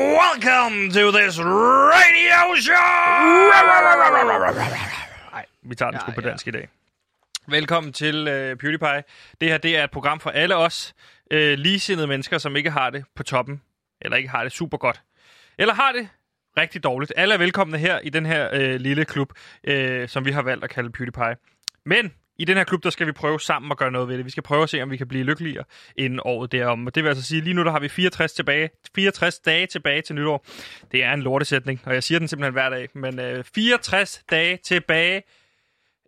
Welcome to this radio show! Nej, vi tager den sgu Ja, på ja. dansk i dag. Velkommen til øh, PewDiePie. Det her det er et program for alle os øh, ligesindede mennesker, som ikke har det på toppen, eller ikke har det super godt, eller har det rigtig dårligt. Alle er velkomne her i den her øh, lille klub, øh, som vi har valgt at kalde PewDiePie. Men i den her klub, der skal vi prøve sammen at gøre noget ved det. Vi skal prøve at se, om vi kan blive lykkeligere inden året derom. Og det vil altså sige, lige nu der har vi 64, tilbage, 64 dage tilbage til nytår. Det er en lortesætning, og jeg siger den simpelthen hver dag. Men øh, 64 dage tilbage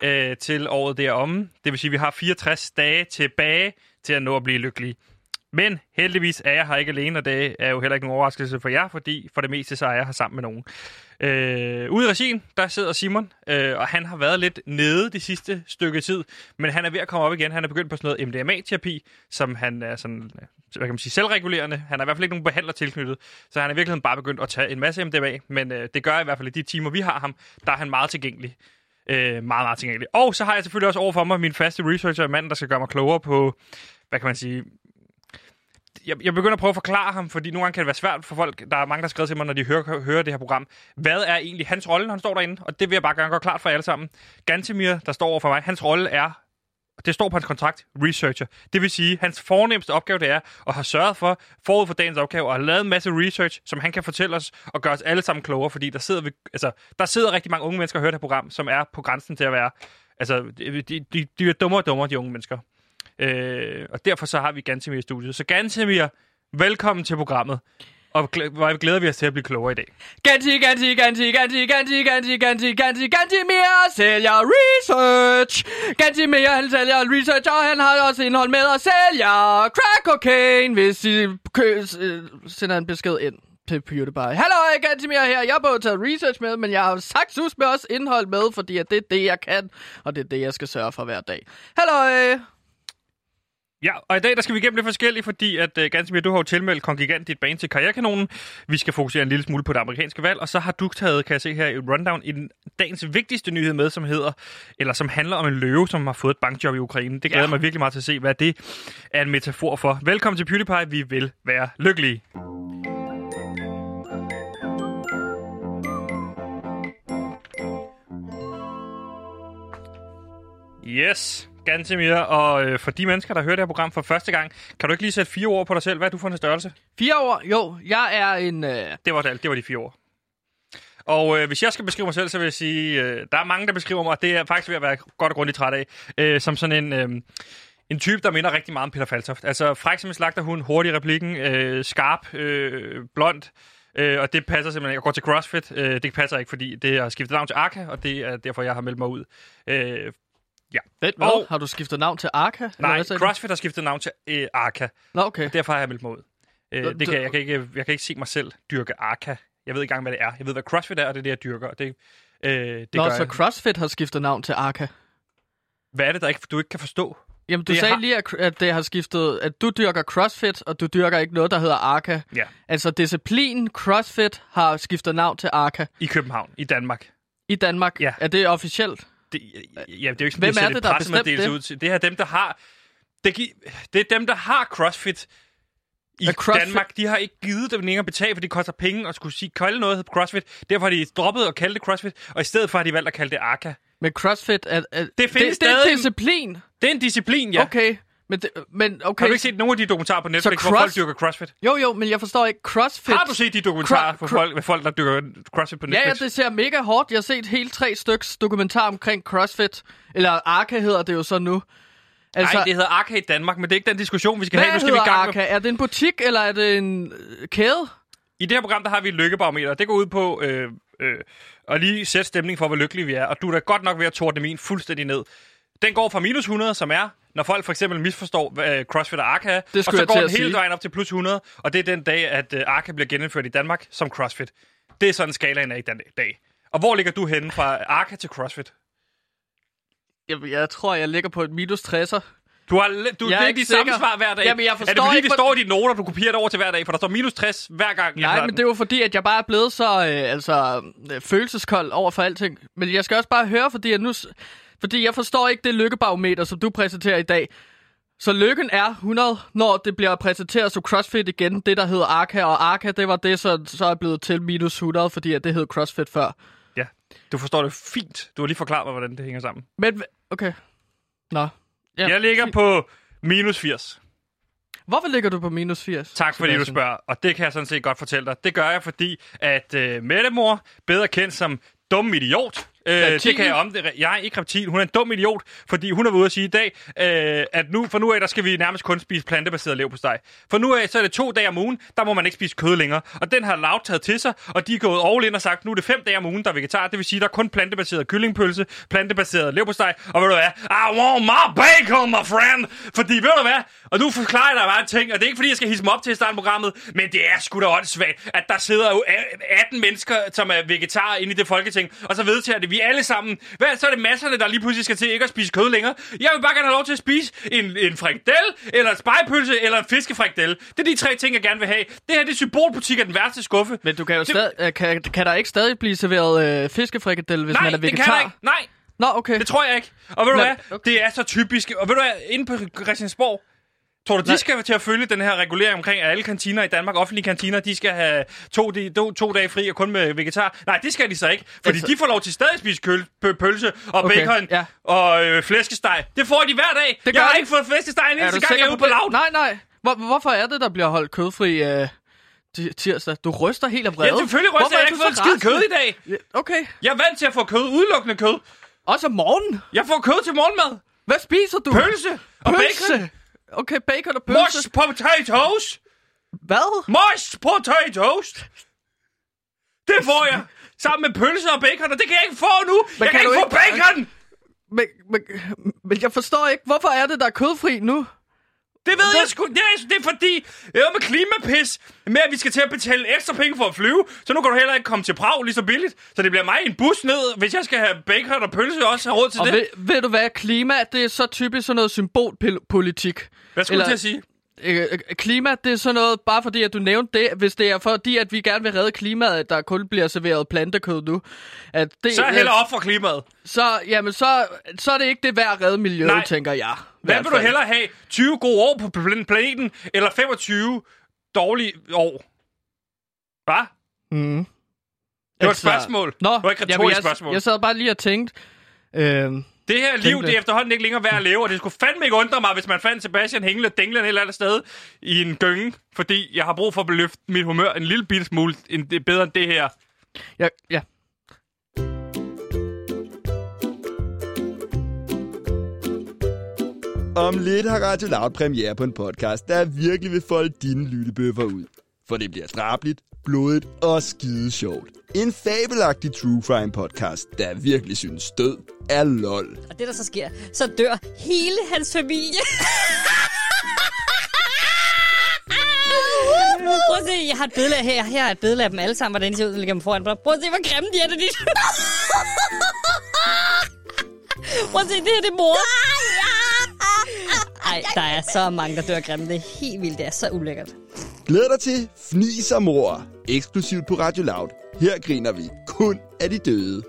øh, til året deromme. Det vil sige, at vi har 64 dage tilbage til at nå at blive lykkelige. Men heldigvis er jeg her ikke alene, og det er jo heller ikke nogen overraskelse for jer, fordi for det meste så er jeg her sammen med nogen. Øh, ude i regien, der sidder Simon, øh, og han har været lidt nede det sidste stykke tid, men han er ved at komme op igen. Han er begyndt på sådan noget MDMA-terapi, som han er sådan, øh, hvad kan man sige, selvregulerende. Han har i hvert fald ikke nogen behandler tilknyttet, så han er i virkeligheden bare begyndt at tage en masse MDMA, men øh, det gør i hvert fald i de timer, vi har ham, der er han meget tilgængelig. Øh, meget, meget tilgængelig. Og så har jeg selvfølgelig også overfor mig min faste researcher, manden, der skal gøre mig klogere på, hvad kan man sige, jeg, jeg begynder at prøve at forklare ham, fordi nogle gange kan det være svært for folk. Der er mange, der har skrevet til mig, når de hører, hører det her program. Hvad er egentlig hans rolle, når han står derinde? Og det vil jeg bare gerne gøre klart for jer alle sammen. Gantemir, der står over for mig, hans rolle er det står på hans kontrakt, researcher. Det vil sige, hans fornemmeste opgave det er at have sørget for, forud for dagens opgave, at have lavet en masse research, som han kan fortælle os og gøre os alle sammen klogere, fordi der sidder, vi, altså, der sidder rigtig mange unge mennesker og hører det her program, som er på grænsen til at være... Altså, de, de, de, de er dummere og dummere, de unge mennesker. Øh, og derfor så har vi Gantemir i studiet. Så Gantemir, velkommen til programmet. Og glæ- hvor glæder vi os til at blive klogere i dag. Ganti, ganti, ganti, ganti, ganti, ganti, ganti, ganti, ganti mere sælger research. Ganti mere, han sælger research, og han har også indhold med at sælge crack cocaine, hvis I kø- s- øh, sender en besked ind til PewDiePie. Hallo, Ganti mere her. Jeg har både taget research med, men jeg har sagt sus med også indhold med, fordi at det er det, jeg kan, og det er det, jeg skal sørge for hver dag. Hallo, øh, Ja, og i dag der skal vi igennem lidt forskelligt, fordi at uh, ganske mere, du har jo tilmeldt Kongigant dit bane til karrierekanonen. Vi skal fokusere en lille smule på det amerikanske valg, og så har du taget, kan jeg se her i rundown, en dagens vigtigste nyhed med, som hedder, eller som handler om en løve, som har fået et bankjob i Ukraine. Det glæder ja. Ja. mig virkelig meget til at se, hvad det er en metafor for. Velkommen til PewDiePie, vi vil være lykkelige. Yes, ganske mere. Og øh, for de mennesker, der hører det her program for første gang, kan du ikke lige sætte fire ord på dig selv? Hvad er du for en størrelse? Fire år? Jo, jeg er en... Øh, Det var det, alt. det var de fire ord. Og øh, hvis jeg skal beskrive mig selv, så vil jeg sige, øh, der er mange, der beskriver mig, og det er jeg faktisk ved at være godt og grundigt træt af, øh, som sådan en, øh, en type, der minder rigtig meget om Peter Faltoft. Altså fræk som en slagterhund, hurtig i replikken, øh, skarp, øh, blond, øh, og det passer simpelthen ikke. Jeg går til CrossFit, øh, det passer ikke, fordi det har skiftet navn til Arca, og det er derfor, jeg har meldt mig ud. Øh, Vent, hvad? Og- Har du skiftet navn til Arca? Eller nej, hvad sagde du? CrossFit har skiftet navn til øh, Arca, Nå, okay. derfor har jeg meldt mig ud. Øh, Nå, det du- kan, jeg, kan ikke, jeg kan ikke se mig selv dyrke Arca. Jeg ved ikke engang, hvad det er. Jeg ved, hvad CrossFit er, og det er det, jeg dyrker. Og det, øh, det Nå, gør så jeg. CrossFit har skiftet navn til Arca. Hvad er det, der ikke, du ikke kan forstå? Jamen, du Det det sagde har- har... lige, at- at det har skiftet, at du dyrker CrossFit, og du dyrker ikke noget, der hedder Arca. Ja. Altså, disciplinen CrossFit har skiftet navn til Arca I København, i Danmark. i Danmark. Ja. Er det officielt? Det, ja, det er jo ikke sådan, at Hvem jeg er sætter det, der har bestemt pressemeddelelse det? Ud til. Det er dem, der har... Det, gi- det er dem, der har CrossFit i Er CrossFit- Danmark. De har ikke givet dem længere at betale, for det koster penge at skulle sige, kalde noget hedder CrossFit. Derfor har de droppet at kalde det CrossFit, og i stedet for har de valgt at kalde det ARCA. Men CrossFit er... er findes det, stadig. Det er disciplin. Det er en disciplin, ja. Okay. Okay. Men, det, men okay. Har du ikke set nogen af de dokumentarer på Netflix, hvor cross- folk dyrker CrossFit? Jo, jo, men jeg forstår ikke. CrossFit... Har du set de dokumentarer Cro- på cro- folk, med folk, der dyrker CrossFit på Netflix? Ja, ja, det ser mega hårdt. Jeg har set helt tre styks dokumentar omkring CrossFit. Eller Arca hedder det jo så nu. altså... Nej, det hedder ARCA i Danmark, men det er ikke den diskussion, vi skal Hvad have. Nu skal vi i hedder gang med Arca? Er det en butik, eller er det en øh, kæde? I det her program, der har vi et lykkebarometer. Det går ud på øh, øh, at lige sætte stemning for, hvor lykkelige vi er. Og du er da godt nok ved at tordne min fuldstændig ned. Den går fra minus 100, som er, når folk for eksempel misforstår hvad, øh, CrossFit og Arca, og skulle så jeg går til den at hele sige. vejen op til plus 100, og det er den dag, at øh, Arca bliver genindført i Danmark som CrossFit. Det er sådan skalaen er i den dag. Og hvor ligger du henne fra Arca til CrossFit? Jeg, jeg tror, jeg ligger på et minus 60'er. Du har le- du, Jeg er det er ikke de samme sikker. svar hver dag. Jamen, jeg er det forstår fordi, ikke, det hvor- står i dine noter, du kopierer det over til hver dag, for der står minus 60 hver gang. jeg Nej, klarer men den? det er jo fordi, at jeg bare er blevet så øh, altså, øh, følelseskold over for alting. Men jeg skal også bare høre, fordi jeg, nu, s- fordi jeg forstår ikke det lykkebarometer, som du præsenterer i dag. Så lykken er 100, når det bliver præsenteret som CrossFit igen, det der hedder Arca, og Arca, det var det, så, så er blevet til minus 100, fordi at det hed CrossFit før. Ja, du forstår det fint. Du har lige forklaret mig, hvordan det hænger sammen. Men, hva- okay. Nå. Ja. Ja. Jeg ligger på minus 80. Hvorfor ligger du på minus 80? Tak fordi du Sebastian? spørger, og det kan jeg sådan set godt fortælle dig. Det gør jeg, fordi at øh, Mettemor, bedre kendt som dum idiot, øh, Reptil? det kan jeg om det. Jeg er ikke reptil, hun er en dum idiot, fordi hun er ude at sige i dag, øh, at nu, for nu af, der skal vi nærmest kun spise plantebaseret leverpostej. For nu af, så er det to dage om ugen, der må man ikke spise kød længere. Og den har Lav taget til sig, og de er gået all in og sagt, nu er det fem dage om ugen, der er vegetar. Det vil sige, der er kun plantebaseret kyllingpølse, plantebaseret leverpostej, og ved du hvad? I want my bacon, my friend! Fordi ved du hvad? Og nu forklarer jeg dig bare en ting, og det er ikke fordi, jeg skal hisse mig op til i starten af programmet, men det er sgu da åndssvagt, at der sidder jo a- 18 mennesker, som er vegetarer inde i det folketing, og så vedtager det vi alle sammen. Hvad, så er det masserne, der lige pludselig skal til ikke at spise kød længere. Jeg vil bare gerne have lov til at spise en, en frikadelle, eller en spejpølse, eller en fiskefrikadelle. Det er de tre ting, jeg gerne vil have. Det her, det er symbolbutik af den værste skuffe. Men du kan jo Det- stadig, øh, kan, kan der ikke stadig blive serveret øh, fiskefrikadelle, hvis Nej, man er det vegetar? kan jeg ikke. Nej, Nå, okay. det tror jeg ikke. Og ved du Nå, hvad? okay. Det er så typisk. Og ved du hvad? Inde på Christiansborg, tror du, de Nej. skal til at følge den her regulering omkring, at alle kantiner i Danmark, offentlige kantiner, de skal have to, de, to, to dage fri og kun med vegetar? Nej, det skal de så ikke. Fordi Altså- de får lov til stadig at spise køl, pø, pølse og Okay, okay, bacon ja. ja. og øh, flæskesteg. Det får de hver dag. Det Det gør jeg har de. ikke fået flæskesteg en eneste du gang, jeg er ude på det? lavet. Nej, nej. Hvor, hvorfor er det, der bliver holdt kødfri øh, ti- tirsdag? Du ryster helt af vrede. Ja, selvfølgelig ryster jeg Hvorfor er har ikke du fået så skid kød i dag. rasende? Ja, Okay. Jeg er vant til at få kød, udelukkende kød. Også om morgenen. Jeg får kød til morgenmad. Hvad spiser du? Pølse og pølse. bacon. Okay, bacon og pølse. Mashed potatoes. Hvad? Mashed potatoes! Det får jeg! Sammen med pølser og bacon, og det kan jeg ikke få nu! jeg kan kan, du ikke få ikke- bacon! Men, men, men jeg forstår ikke, hvorfor er det, der er kødfri nu? Det ved jeg sgu. Det er, det er fordi, det er med klimapis, med at vi skal til at betale ekstra penge for at flyve, så nu kan du heller ikke komme til Prag lige så billigt. Så det bliver mig i en bus ned, hvis jeg skal have bacon og pølse også have råd til Og det. ved, ved du hvad, klima, det er så typisk sådan noget symbolpolitik. Hvad skulle du til at sige? Øh, øh, klima, det er sådan noget, bare fordi at du nævnte det, hvis det er fordi, at vi gerne vil redde klimaet, at der kun bliver serveret plantekød nu. At det, Så heller op for klimaet. Så, jamen, så, så er det ikke det værd at redde miljøet, Nej. Nej. tænker jeg. i Hvad hvert vil du fald. hellere have? 20 gode år på pl- planeten, eller 25 dårlige år? Hvad? Mm. Det var et spørgsmål. Altså, Nå, det var ikke et jamen, retorisk jeg, spørgsmål. jeg sad bare lige og tænkte, øh, Det her liv, Tænk det. det er efterhånden ikke længere værd at leve, og det skulle fandme ikke undre mig, hvis man fandt Sebastian Hengle dænglende et eller andet sted i en gynge, fordi jeg har brug for at beløfte mit humør en lille bitte smule end det, bedre end det her. Ja, ja. Om lidt har Radio Loud premiere på en podcast, der virkelig vil folde dine lyttebøffer ud. For det bliver drabligt, blodigt og skide sjovt. En fabelagtig true crime podcast, der virkelig synes død er lol. Og det, der så sker, så dør hele hans familie. Prøv at se, jeg har et billede af her. Her er et billede af dem alle sammen, hvordan de ser ud, når de ligger dem foran. Prøv at se, hvor grimme de er, når de... Prøv at se, det her det er mor. Ej, der er så mange, der dør grimme. Det er helt vildt. Det er så ulækkert. Glæd dig til Fnis og Mor, eksklusivt på Radio Loud. Her griner vi kun af de døde.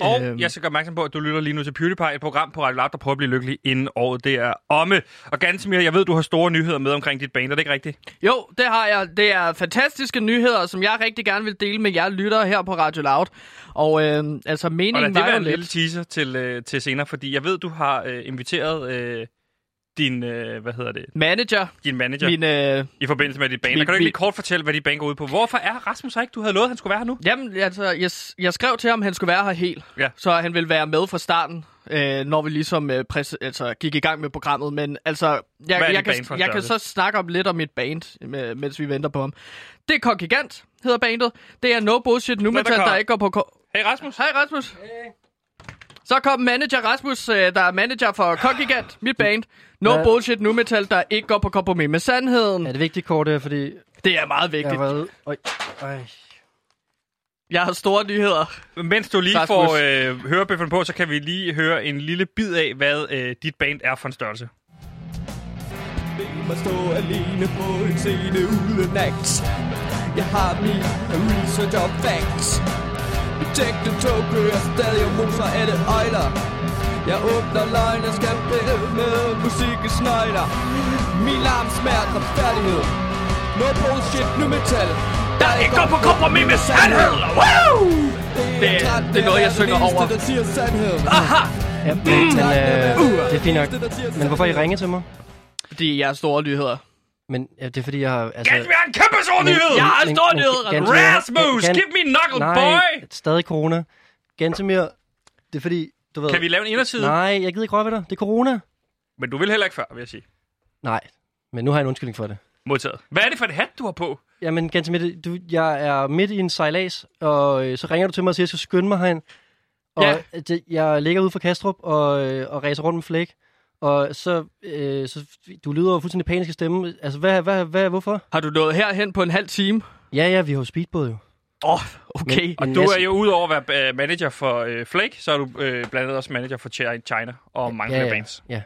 Og Øhm. øhm. jeg skal gøre opmærksom på, at du lytter lige nu til PewDiePie, et program på Radio Lab, der prøver at blive lykkelig inden året det er omme. Og Gansimir, jeg ved, du har store nyheder med omkring dit band, er det ikke rigtigt? Jo, det har jeg. Det er fantastiske nyheder, som jeg rigtig gerne vil dele med jer lyttere her på Radio Loud. Og øh, altså, Og lad det meningen var være jo en lille lidt... teaser til, øh, til senere, fordi jeg ved, du har øh, inviteret øh, din, øh, hvad hedder det, Manager, din manager min... Øh, i forbindelse med dit band. min- Kan du ikke min- lige kort fortælle, hvad dit band går ud på? Hvorfor er Rasmus her ikke? Du havde lovet, at han skulle være her nu. jamen, altså, jeg, jeg skrev til ham, at han skulle være her helt. Ja. Så han ville være med fra starten, øh, når vi ligesom øh, præs- altså, gik i gang med programmet. Men altså, jeg, er jeg, dit kan, band for en jeg kan så størrelse? snakke om lidt om mit band, med, mens vi venter på ham. Det er Kongigant, hedder bandet. Det er No Bullshit Nu Metal, der kommer. ikke går på... ko- Hey Rasmus. Hej Rasmus. Hey. Så kom manager Rasmus, øh, der er manager for Kongigant, mit band. No Hvad? bullshit nu metal, der ikke går på kompromis med sandheden. Er det vigtigt kort her, fordi Det er meget jeg vigtigt. har været... Øj, øj. Jeg har store nyheder. Mens du lige Rasmus. får øh, hørebøffen på, så kan vi lige høre en lille bid af, hvad øh, dit band er for en størrelse. ved mig stå alene på en scene uden acts Jeg har min research og facts Mit tægte tog kører stadig og moser alle øjler Jeg åbner løgne, skal bede med musikkens nøgler Min larm smert retfærdighed No bullshit, nu metal Der ikke går på kompromis med sandhed! Woo! Det, det er noget, jeg synger over. Det er træt, det er det eneste, der siger sandheden Aha! Ja, men, Mm. øh, det er fint nok. Det er der siger Men hvorfor har I ringet til mig? Fordi jeg er store nyheder. Men ja, det er fordi, jeg har... Altså, Gav mig en kæmpe stor nyhed! Jeg har en stor Men- nyhed! men- Rasmus, Gen- give me knuckle, nej, boy! stadig corona. Gantemir, det er fordi, du ved... Kan vi lave en inderside? Nej, jeg gider ikke røre ved dig. Det er corona. Men du vil heller ikke før, vil jeg sige. Nej, men nu har jeg en undskyldning for det. Modtaget. Hvad er det for et hat, du har på? Jamen, Gantemir, det- du, jeg er midt i en sejlads, og øh, så ringer du til mig og siger, at jeg skal skynde mig herind. Og Ja. ja. det, jeg ligger ude for Kastrup og, øh, og racer rundt med flæk. Og så, øh, så du lyder jo fuldstændig panisk i stemme. Altså, hvad, hvad, hvad, hvorfor? Har du nået herhen på en halv time? Ja, ja, vi har jo speedbåd jo. Åh, oh, okay. Og Men du jeg- er jo udover at være øh, manager for øh, Flake, så er du øh, blandt andet også manager for Cher- China og mange ja, flere ja, bands. ja.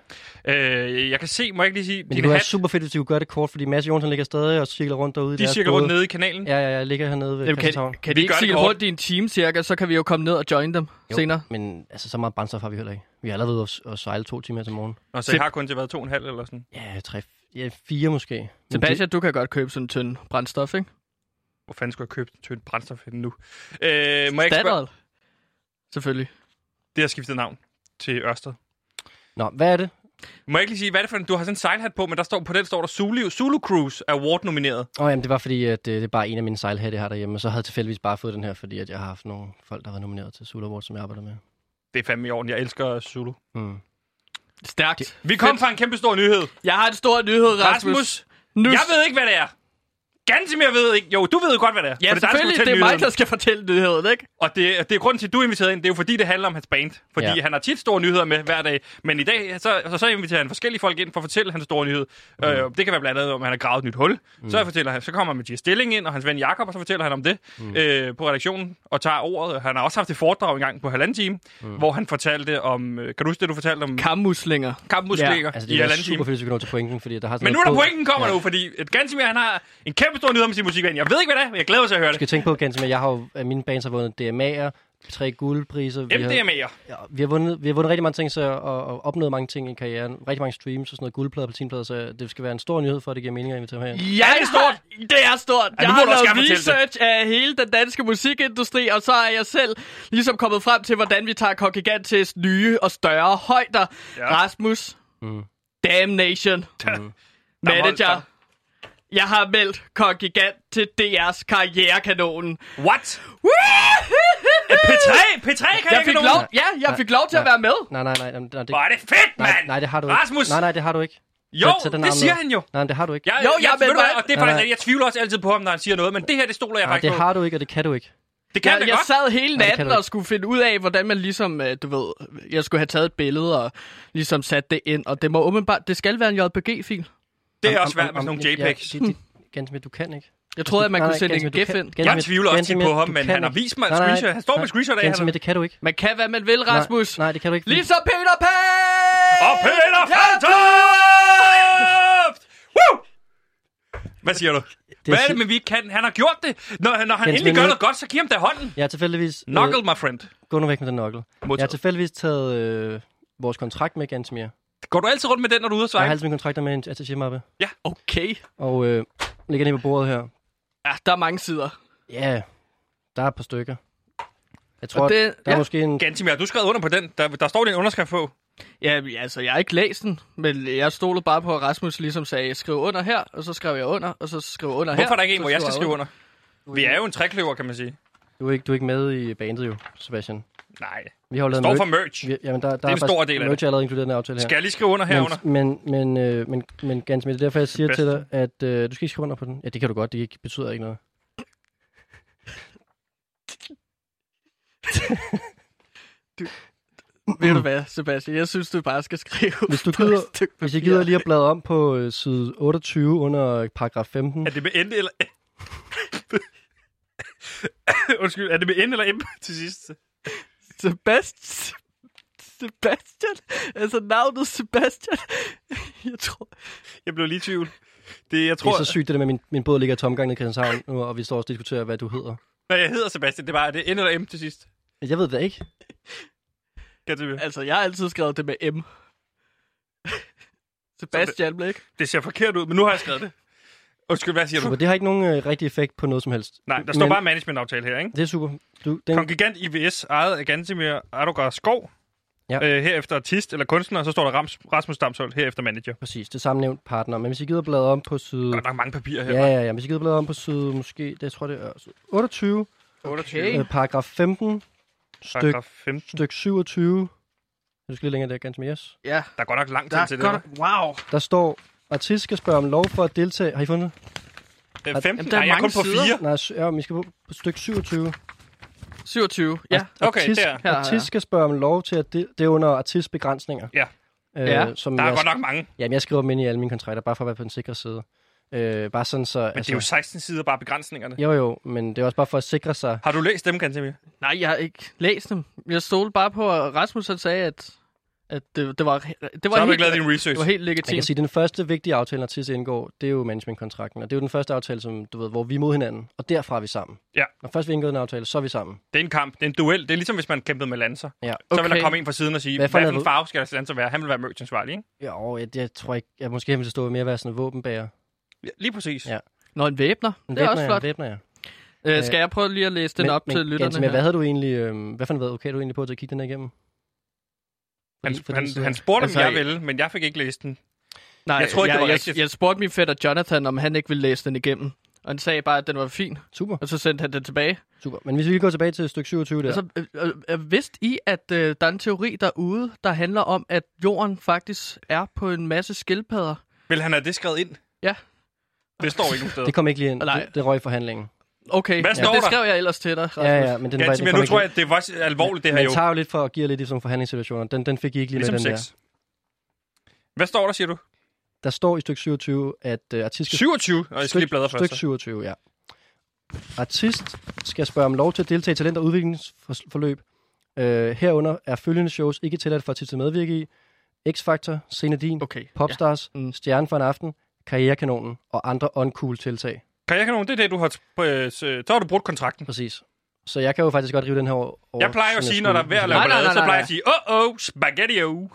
Øh, jeg kan se, må jeg ikke lige sige, Men det din kunne være hat, super fedt, hvis de kunne gøre det kort, fordi Mads Jonsson ligger stadig og cirkler rundt derude. i de deres cirkler rundt både. nede i kanalen. Ja, ja, jeg ligger hernede ved Jamen, kan, Christianshavn. kan Vi de gør ikke det sige kort. rundt i en time cirka, så kan vi jo komme ned og join dem jo. Jo. senere. Men altså, så meget brændstof har vi heller ikke. Vi har allerede været og sejle to timer til morgen. Og så jeg har kun til været to og en halv eller sådan. Ja, tre, ja, fire måske. Men Sebastian, du kan godt købe sådan en tynd brændstof, ikke? Hvor fanden skulle jeg købe tynd brændstof henne nu? Øh, må jeg ikke spørge? Standard. Selvfølgelig. Det har skiftet navn til Ørsted. Det, nå, hvad er det? Må jeg ikke lige sige, hvad er det for en? Du har sådan en sejlhat på, men der står, på den står der Zulu, Zulu Cruise Award nomineret. Åh, oh, jamen, det var fordi, at det, det er bare en af mine sejlhatte, jeg har derhjemme. Og så havde jeg tilfældigvis bare fået den her, fordi at jeg har haft nogle folk, der var nomineret til Sula Award, som jeg arbejder med. Det er fandme i orden. Jeg elsker Zulu. Mm. Stærkt. Vi kom fra en kæmpe stor nyhed. Jeg har en stor nyhed, Rasmus. Rasmus, nu... jeg ved ikke, hvad det er. Gansimir ved ikke. Jo, du ved jo godt, hvad det er. Ja, for det er dig, der skal selvfølgelig. Det fortælle er mig, nyheden. der skal fortælle nyheden, ikke? Og det, det er grunden til, at du er inviteret ind. Det er jo fordi, det handler om hans band. Fordi Ja. ja. han har tit store nyheder med hver dag. Men i dag, så, så, så inviterer han forskellige folk ind for at fortælle hans store nyhed. Mm. Øh, det kan være blandt andet, om han har gravet et nyt hul. Mm. Så, fortæller han, så kommer han med Gia Stilling ind, og hans ven Jakob, og så fortæller han om det mm. øh, på redaktionen og tager ordet. Han har også haft et foredrag engang på halvanden time, mm. hvor han fortalte om... øh, Kan du huske det, du fortalte om Kammuslinger. kampmusklinger Altså, i det er halvanden super time? fedt, hvis vi kan nå til pointen, fordi der har sådan Men nu er noget der bod- pointen kommer ja. nu, fordi at Gansimir, han har en kæmpe stor nyhed om sin musikven. Jeg ved ikke, hvad det er, men jeg glæder mig til at høre Du skal det. tænke på, Gens, at jeg har jo, at mine bands har vundet DMA'er, tre guldpriser. Vi har, MDMA'er. ja, vi, har vundet, vi har vundet rigtig mange ting, så, og, og, opnået mange ting i karrieren. Rigtig mange streams og sådan noget guldplader og platinplader, så det skal være en stor nyhed for, at det giver mening at invitere mig herind. Jeg er stort. Det er stort. nu Jeg må har du også lavet gerne fortælle research af hele den danske musikindustri, og så er jeg selv ligesom kommet frem til, hvordan vi tager Kogigantes nye og større højder. Ja. Rasmus. Mm. Damnation. Mm. Manager. Jeg har meldt Kogigant til DR's karrierekanonen. What? Woohoo! P3! P3 kan Jeg fik ikke lov, ja, jeg fik lov til at være med. Nej, nej, nej. nej, nej det, Hvor er det fedt, nej, mand! nej, det har du Rasmus! ikke. Nej, nej, det har du ikke. Jo, Tag- tag den det arm siger ned. han jo. Nej, det har du ikke. Jeg, Jo, jeg, jeg ved ved du hvad, hvad? og det er Nej, faktisk, nej. rigtigt. jeg tvivler også altid på, om når han siger noget, men det her, det stoler jeg Nej, det faktisk på. har du ikke, og det kan du ikke. Det kan Jeg, det jeg godt. sad hele Nej, det kan natten du og ikke. skulle finde ud af, hvordan man ligesom, øh, du ved, jeg skulle have taget et billede og ligesom sat det ind. Og det må åbenbart, det skal være en JPG-fil. Det er Om- også om- svært med om- sådan nogle om- ja, JPEGs. det- det- Gantemir, du kan ikke. Jeg troede, at man Nej, kunne nej, sende en Gantemir, du GIF kan- ind. Gantemir, Jeg tvivler du- også tit Gantemir, på ham, du men kan han har ikke. vist mig et Nej, nej, screenshot. Han står med nej, screenshot af, Gantemir, han- det kan du ikke. Man kan, hvad man vil, Nej, Rasmus. Nej, det kan du ikke. Ligesom Peter Pan! Og Peter Faltoft! Woo! Hvad siger du? Hvad er det, si- men vi ikke kan? Han har gjort det. Når, han- når han Men endelig gør Svenja- noget godt, så giv ham da hånden. Jeg har tilfældigvis... øh, Knuckle, my friend. Gå nu væk med den nokkel. Jeg har Modtaget. tilfældigvis taget øh, vores kontrakt med Gantemir. Går du altid rundt med den, når du er ude at Jeg har sejle? altid mine kontrakter med en attaché-mappe. Okay. Og øh, ligger nede på bordet her. Ja, der er mange sider. Ja, yeah, der er et par stykker. Jeg tror, det- det, der ja. ja. er måske en... Gantimir, du skrev under på den. Der, der står din underskrift på. Ja, men altså, jeg har ikke læst den, men jeg stolede bare på, at Rasmus ligesom sagde, skriv under her, og så skrev jeg under, og så skrev under her. Hvorfor er der ikke en, så hvor jeg skrev skal skrive under? Vi er jo en trækløver, kan man sige. Du er, ikke, du er ikke med i bandet jo, Sebastian. Nej, vi har jo lavet står merch- for merch. Vi, jamen, der, der det er en stor del af merch, det. allerede inkluderet i den aftale her. Skal jeg lige skrive under herunder? Men, men, men, øh, men, men Gansmith, det er derfor, jeg siger til bedste. dig, at øh, du skal ikke skrive under på den. Ja, det kan du godt. Det ikke, betyder ikke noget. Ved du hvad, Sebastian? Jeg synes, du bare skal skrive. Hvis du på et gider- stykke Hvis jeg papir. gider lige at bladre om på øh, side 28 under øh, paragraf 15. Er det med ende eller... Undskyld, er det med ende eller M til sidst? Sebastian. Sebastian? Altså navnet Sebastian? Jeg tror... Jeg blev lige i tvivl. Det, jeg Det tror, er så sygt, det der med, at min, min båd ligger i tomgang i Christianshavn nu, og vi står og diskuterer, hvad du hedder. når jeg hedder Sebastian, det er bare, er det N eller M til sidst? Jeg ved det ikke. Gantemir. Altså, jeg har altid skrevet det med M. Sebastian Blæk. Det ser forkert ud, men nu har jeg skrevet det. Undskyld, hvad siger Super, du? det har ikke nogen øh, rigtig effekt på noget som helst. Nej, der står Men- bare managementaftale her, ikke? Det er super. Du, den, Kong Gigant IVS, ejet af Gantemir Ardogar Skov. Ja. Ja. Øh, herefter artist eller kunstner, og så står der Rams, Rasmus Damshold, herefter manager. præcis, det er samme nævnt partner. Men hvis I gider bladre om på side... Godt nok mange papirer her. Ja, ja, ja. Hvis I gider bladre om på side, måske, det tror jeg, det er side 28, 28, Okay. øh, paragraf 15, styk, paragraf 15. styk 27. Du skal lidt længere der, ganske mere. Yes. Ja, Der er godt nok lang der tid er til det. godt... Wow. Der står, artist skal spørge om lov for at deltage. Har I fundet? det? hva'? Øh, 15? Jamen, der er Nej, jeg er kun mange på sider. 4. Nej, sy- ja, men I skal på, på styk 27. 27. Ja. Okay, artist, der. Her har jeg. artist skal spørge om lov til at... De, det er under artistbegrænsninger. Ja. Øh, Ja, som Der er jeg, godt nok mange. Men Jamen, jeg skriver dem ind i alle mine kontrakter, bare for at være på den sikre side. Øh, bare sådan så... Men det er jo 16 sider bare begrænsningerne. Jo, jo, men det er også bare for at sikre sig. Har du læst dem, Gantemir? Nej, jeg har ikke læst dem. Jeg stolede bare på, at Rasmus han sagde, at, at det, det var, det Så var har du helt, ikke lavet din research. det var helt Man kan legitimt. sige, at den første vigtige aftale, når TIS indgår, det er jo managementkontrakten. Og det er jo den første aftale, som, du ved, hvor vi er mod hinanden, og derfra er vi sammen. Ja. Når først vi indgår en aftale, så er vi sammen. Det er en kamp. Det er en duel. Det er ligesom, hvis man kæmpede med lancer. Ja. Okay. Så vil Okay. der komme en fra siden og sige, Hvad hvad for for noget en ved- farve skal deres lancer være? Han vil være merchantsvarlig, ikke? Ja, og jeg, jeg tror ikke, jeg måske vil stå med at være sådan en våbenbærer. Ja, lige præcis. Ja. Ja. Nå, en væbner. En Det er også væbner, flot. Jeg, væbner, jeg. Øh, skal jeg prøve lige at læse den op til lytterne? Gantemir, her? hvad havde du egentlig, øh, hvad for en advokat er du egentlig på til at kigge den her igennem? Han, Fordi- fordi han, så- han, spurgte, Altså, om jeg jeg- ville, men jeg fik ikke læst den. Nej, Jeg tror ikke, jeg, det var jeg, rigtigt. jeg spurgte min fætter Jonathan, om han ikke ville læse den igennem. Og han sagde bare, at den var fin, Super, og så sendte han den tilbage. super. Men hvis vi lige går tilbage til stykke 27 der. Altså, øh, øh, øh, vidste I, at øh, der er en teori derude, der handler om, at jorden faktisk er på en masse skildpadder? Vil han have det skrevet ind? Ja. Det står ikke nogen steder. det kom ikke lige ind. Nej. Det, det røg i forhandlingen. Okay, Hvad står ja, det der? skrev jeg ellers til dig, Rasmus. Ja, ja, men den, var, den Gantemir, kom nu ikke tror ind. jeg, det var også alvorligt, det her Man jo. tager jo lidt for at give lidt i sådan nogle forhandlingssituationer. Den, den fik I ikke lige Ligesom med den sex. Hvad står der, siger du? der. Der står i stykke 27, at øh, artist skal 27, og jeg skal lige bladre først. Styk 27, ja. Artist skal spørge om lov til at deltage i talent- og udviklingsforløb. Øh, herunder er følgende shows ikke tilladt for artist at medvirke i. X-Factor, Scene Din, okay. Okay. Popstars, Ja. ja. Mm. mm. Stjerne for en aften, Karrierekanonen og andre uncool tiltag. Kan jeg ikke nogen? Det er det, du har... øh, Så har du brudt kontrakten. Præcis. Så jeg kan jo faktisk godt rive den her over. Jeg plejer jo at sige, når der er værd at lave Nej, nej, ballade, nej, så nej, plejer jeg nej. at sige, åh, oh, oh,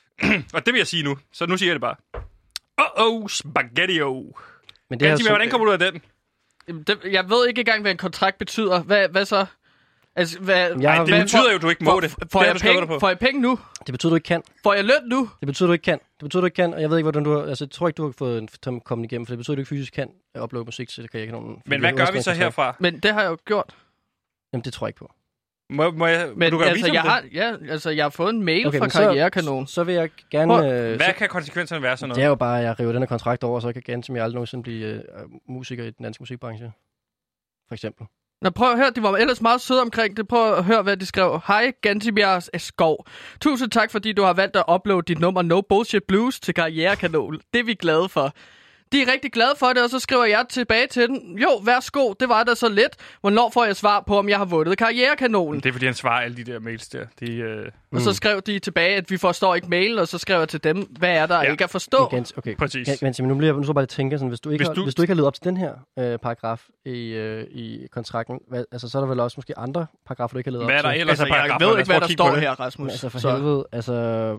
spaghetti Og det vil jeg sige nu, så nu siger jeg det bare. Åh, oh, oh, spaghetti Men det er Gantemir, så, hvordan kommer du ud af den? Jamen, det, jeg ved ikke engang, hvad en kontrakt betyder. Hvad, hvad så? Altså, hvad, jeg har- Nej, det hvad- betyder jo, at du ikke må får, det. får- Det Får, har jeg du skrevet penge, dig får på. jeg penge nu? det betyder, du ikke kan. Får jeg løn nu? Det betyder, du ikke kan. Det betyder, du ikke kan, og jeg ved ikke, hvordan du har... Altså, jeg tror ikke, du har fået en tom kommet igennem, for det betyder, du ikke fysisk kan at uploade musik til Karrierekanonen. fordi Men det hvad er gør vi så underskrevet kontrakt. herfra? Men det har jeg jo gjort. Jamen, det tror jeg ikke på. Må, må jeg, Men Men, du gøre altså, altså, jeg det? har, ja, altså, jeg har fået en mail okay, fra men så- Karrierekanonen. Så, så vil jeg gerne... Prøv- Øh, Hvad kan konsekvenserne være sådan det noget? er jo bare, at jeg river den her kontrakt over, så jeg kan Gantemir aldrig nogensinde blive øh, musiker i den danske musikbranche. For eksempel. Nå, prøv at høre, de var ellers meget søde omkring det. Prøv at høre, hvad de skrev. Hej, Gantibjergs Skov. Tusind tak, fordi du har valgt at uploade dit nummer No Bullshit Blues til Karrierekanal. Det er vi glade for. De er rigtig glade for det, og så skriver jeg tilbage til den. Jo, værsgo, det var da så let. Hvornår får jeg svar på, om jeg har vundet Karrierekanonen? Det er, fordi han svarer alle de der mails der. De, øh, Og så skrev de tilbage, at vi forstår ikke mailen, og så skrev jeg til dem, hvad er der ja. Ja. ikke at forstå? Gans, okay. Præcis. Gan- Gantemir, nu, bliver, jeg- nu skal jeg bare lige tænke sådan, hvis du ikke, Hvis hvis du, du- har, hvis du ikke har levet op til den her øh, paragraf i, øh, i kontrakten, hvad, altså, så er der vel også måske andre paragrafer, du ikke har levet hvad er op der til. ellers Altså, af jeg paragrafer? ved Lad ikke, os prøve hvad at der kigge på står det. her, Men Rasmus. altså for så, helvede, altså...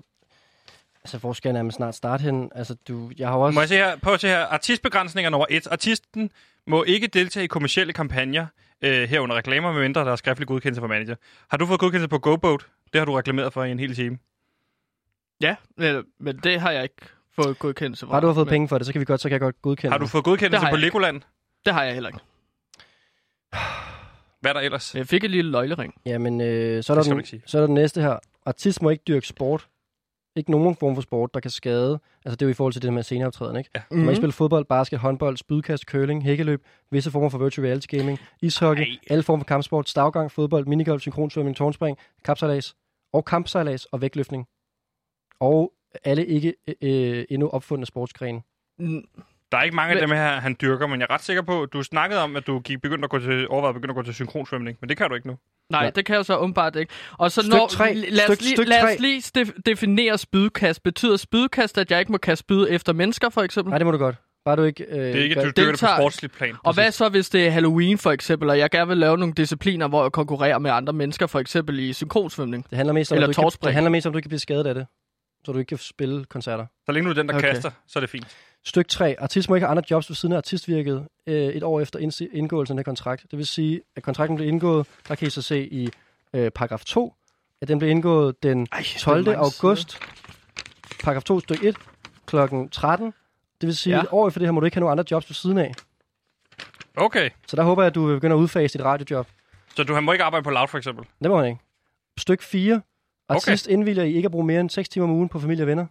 Altså, hvor skal jeg nærmest snart starte hen? Altså, du, jeg har jo også... Må jeg se her? Prøv at se her. Artistbegrænsninger nummer et. Artisten må ikke deltage i kommersielle kampagner, øh, herunder reklamer, medmindre der er skriftlig godkendelse fra manager. Har du fået godkendelse på GoBoat? Det har du reklameret for i en hel time. ja, men, men det har jeg ikke fået godkendelse for. Bare du har fået Men penge for det, så, kan vi godt, så kan jeg godt godkende Har du det. fået Det godkendelse har på jeg ikke. Legoland? Det har jeg heller ikke. Hvad er der ellers? Jeg fik en lille løglering. Jamen, øh, så, er der skal du den, ikke sige. så er der den næste her. Artist må ikke dyrke sport. Ikke nogen form for sport, der kan skade. Altså, det er jo i forhold til det med sceneoptræden, ikke? Ja. Du Mhm. må ikke spille fodbold, basket, håndbold, spydkast, curling, hækkeløb, visse former for virtual reality gaming, ishockey, Ej. alle former for kampsport, stavgang, fodbold, minigolf, synkronsvømning, tårnspring, kapsejlads og kampsejlads og vægtløftning. Og alle ikke øh, endnu opfundne sportsgrene. Der er ikke mange af Hvad- dem her, han dyrker, men jeg er ret sikker på, du snakkede om, at du gik, begyndte at gå til, overvejede at begynde at gå til synkronsvømning, men det kan du ikke nu. Nej, Nej. det kan jeg jo så åbenbart ikke. Og så Styk når, tre. lad, os Styk- lige, styk lad tre. os lige stif- definere spydkast. Betyder spydkast, at jeg ikke må kaste spyd efter mennesker, for eksempel? Nej, det må du godt. Bare du ikke... Øh, Det er ikke, at du gør, dyrker det på deltager- sportsligt plan. Og hvad så, hvis det er Halloween for eksempel, og jeg gerne vil lave nogle discipliner, hvor jeg konkurrerer med andre mennesker, for eksempel i synkronsvømning? det, handler mest om, Eller at du ikke, kan- tårspring. det handler mest om, at du ikke kan blive skadet af det. Så du ikke kan spille koncerter. Så længe du er den, der Okay. okay. kaster, så er det fint. Styk 3. Artist må ikke have andre jobs ved siden af artistvirket øh, et år efter indsi- indgåelsen af den her kontrakt. Det vil sige, at kontrakten blev indgået, der kan I så se i øh, paragraf 2, at den blev indgået den Ej, 12. august, paragraf 2, styk 1, klokken 13. Det vil sige, Ja. ja. et år efter det her må du ikke have nogen andre jobs ved siden af. Okay, Så der håber jeg, at du vil begynde at udfase dit radiojob. så du må ikke arbejde på Loud, for eksempel. Det må man ikke. Styk 4. Artist okay. indvilger I ikke at bruge mere end 6 timer om ugen på familie og venner.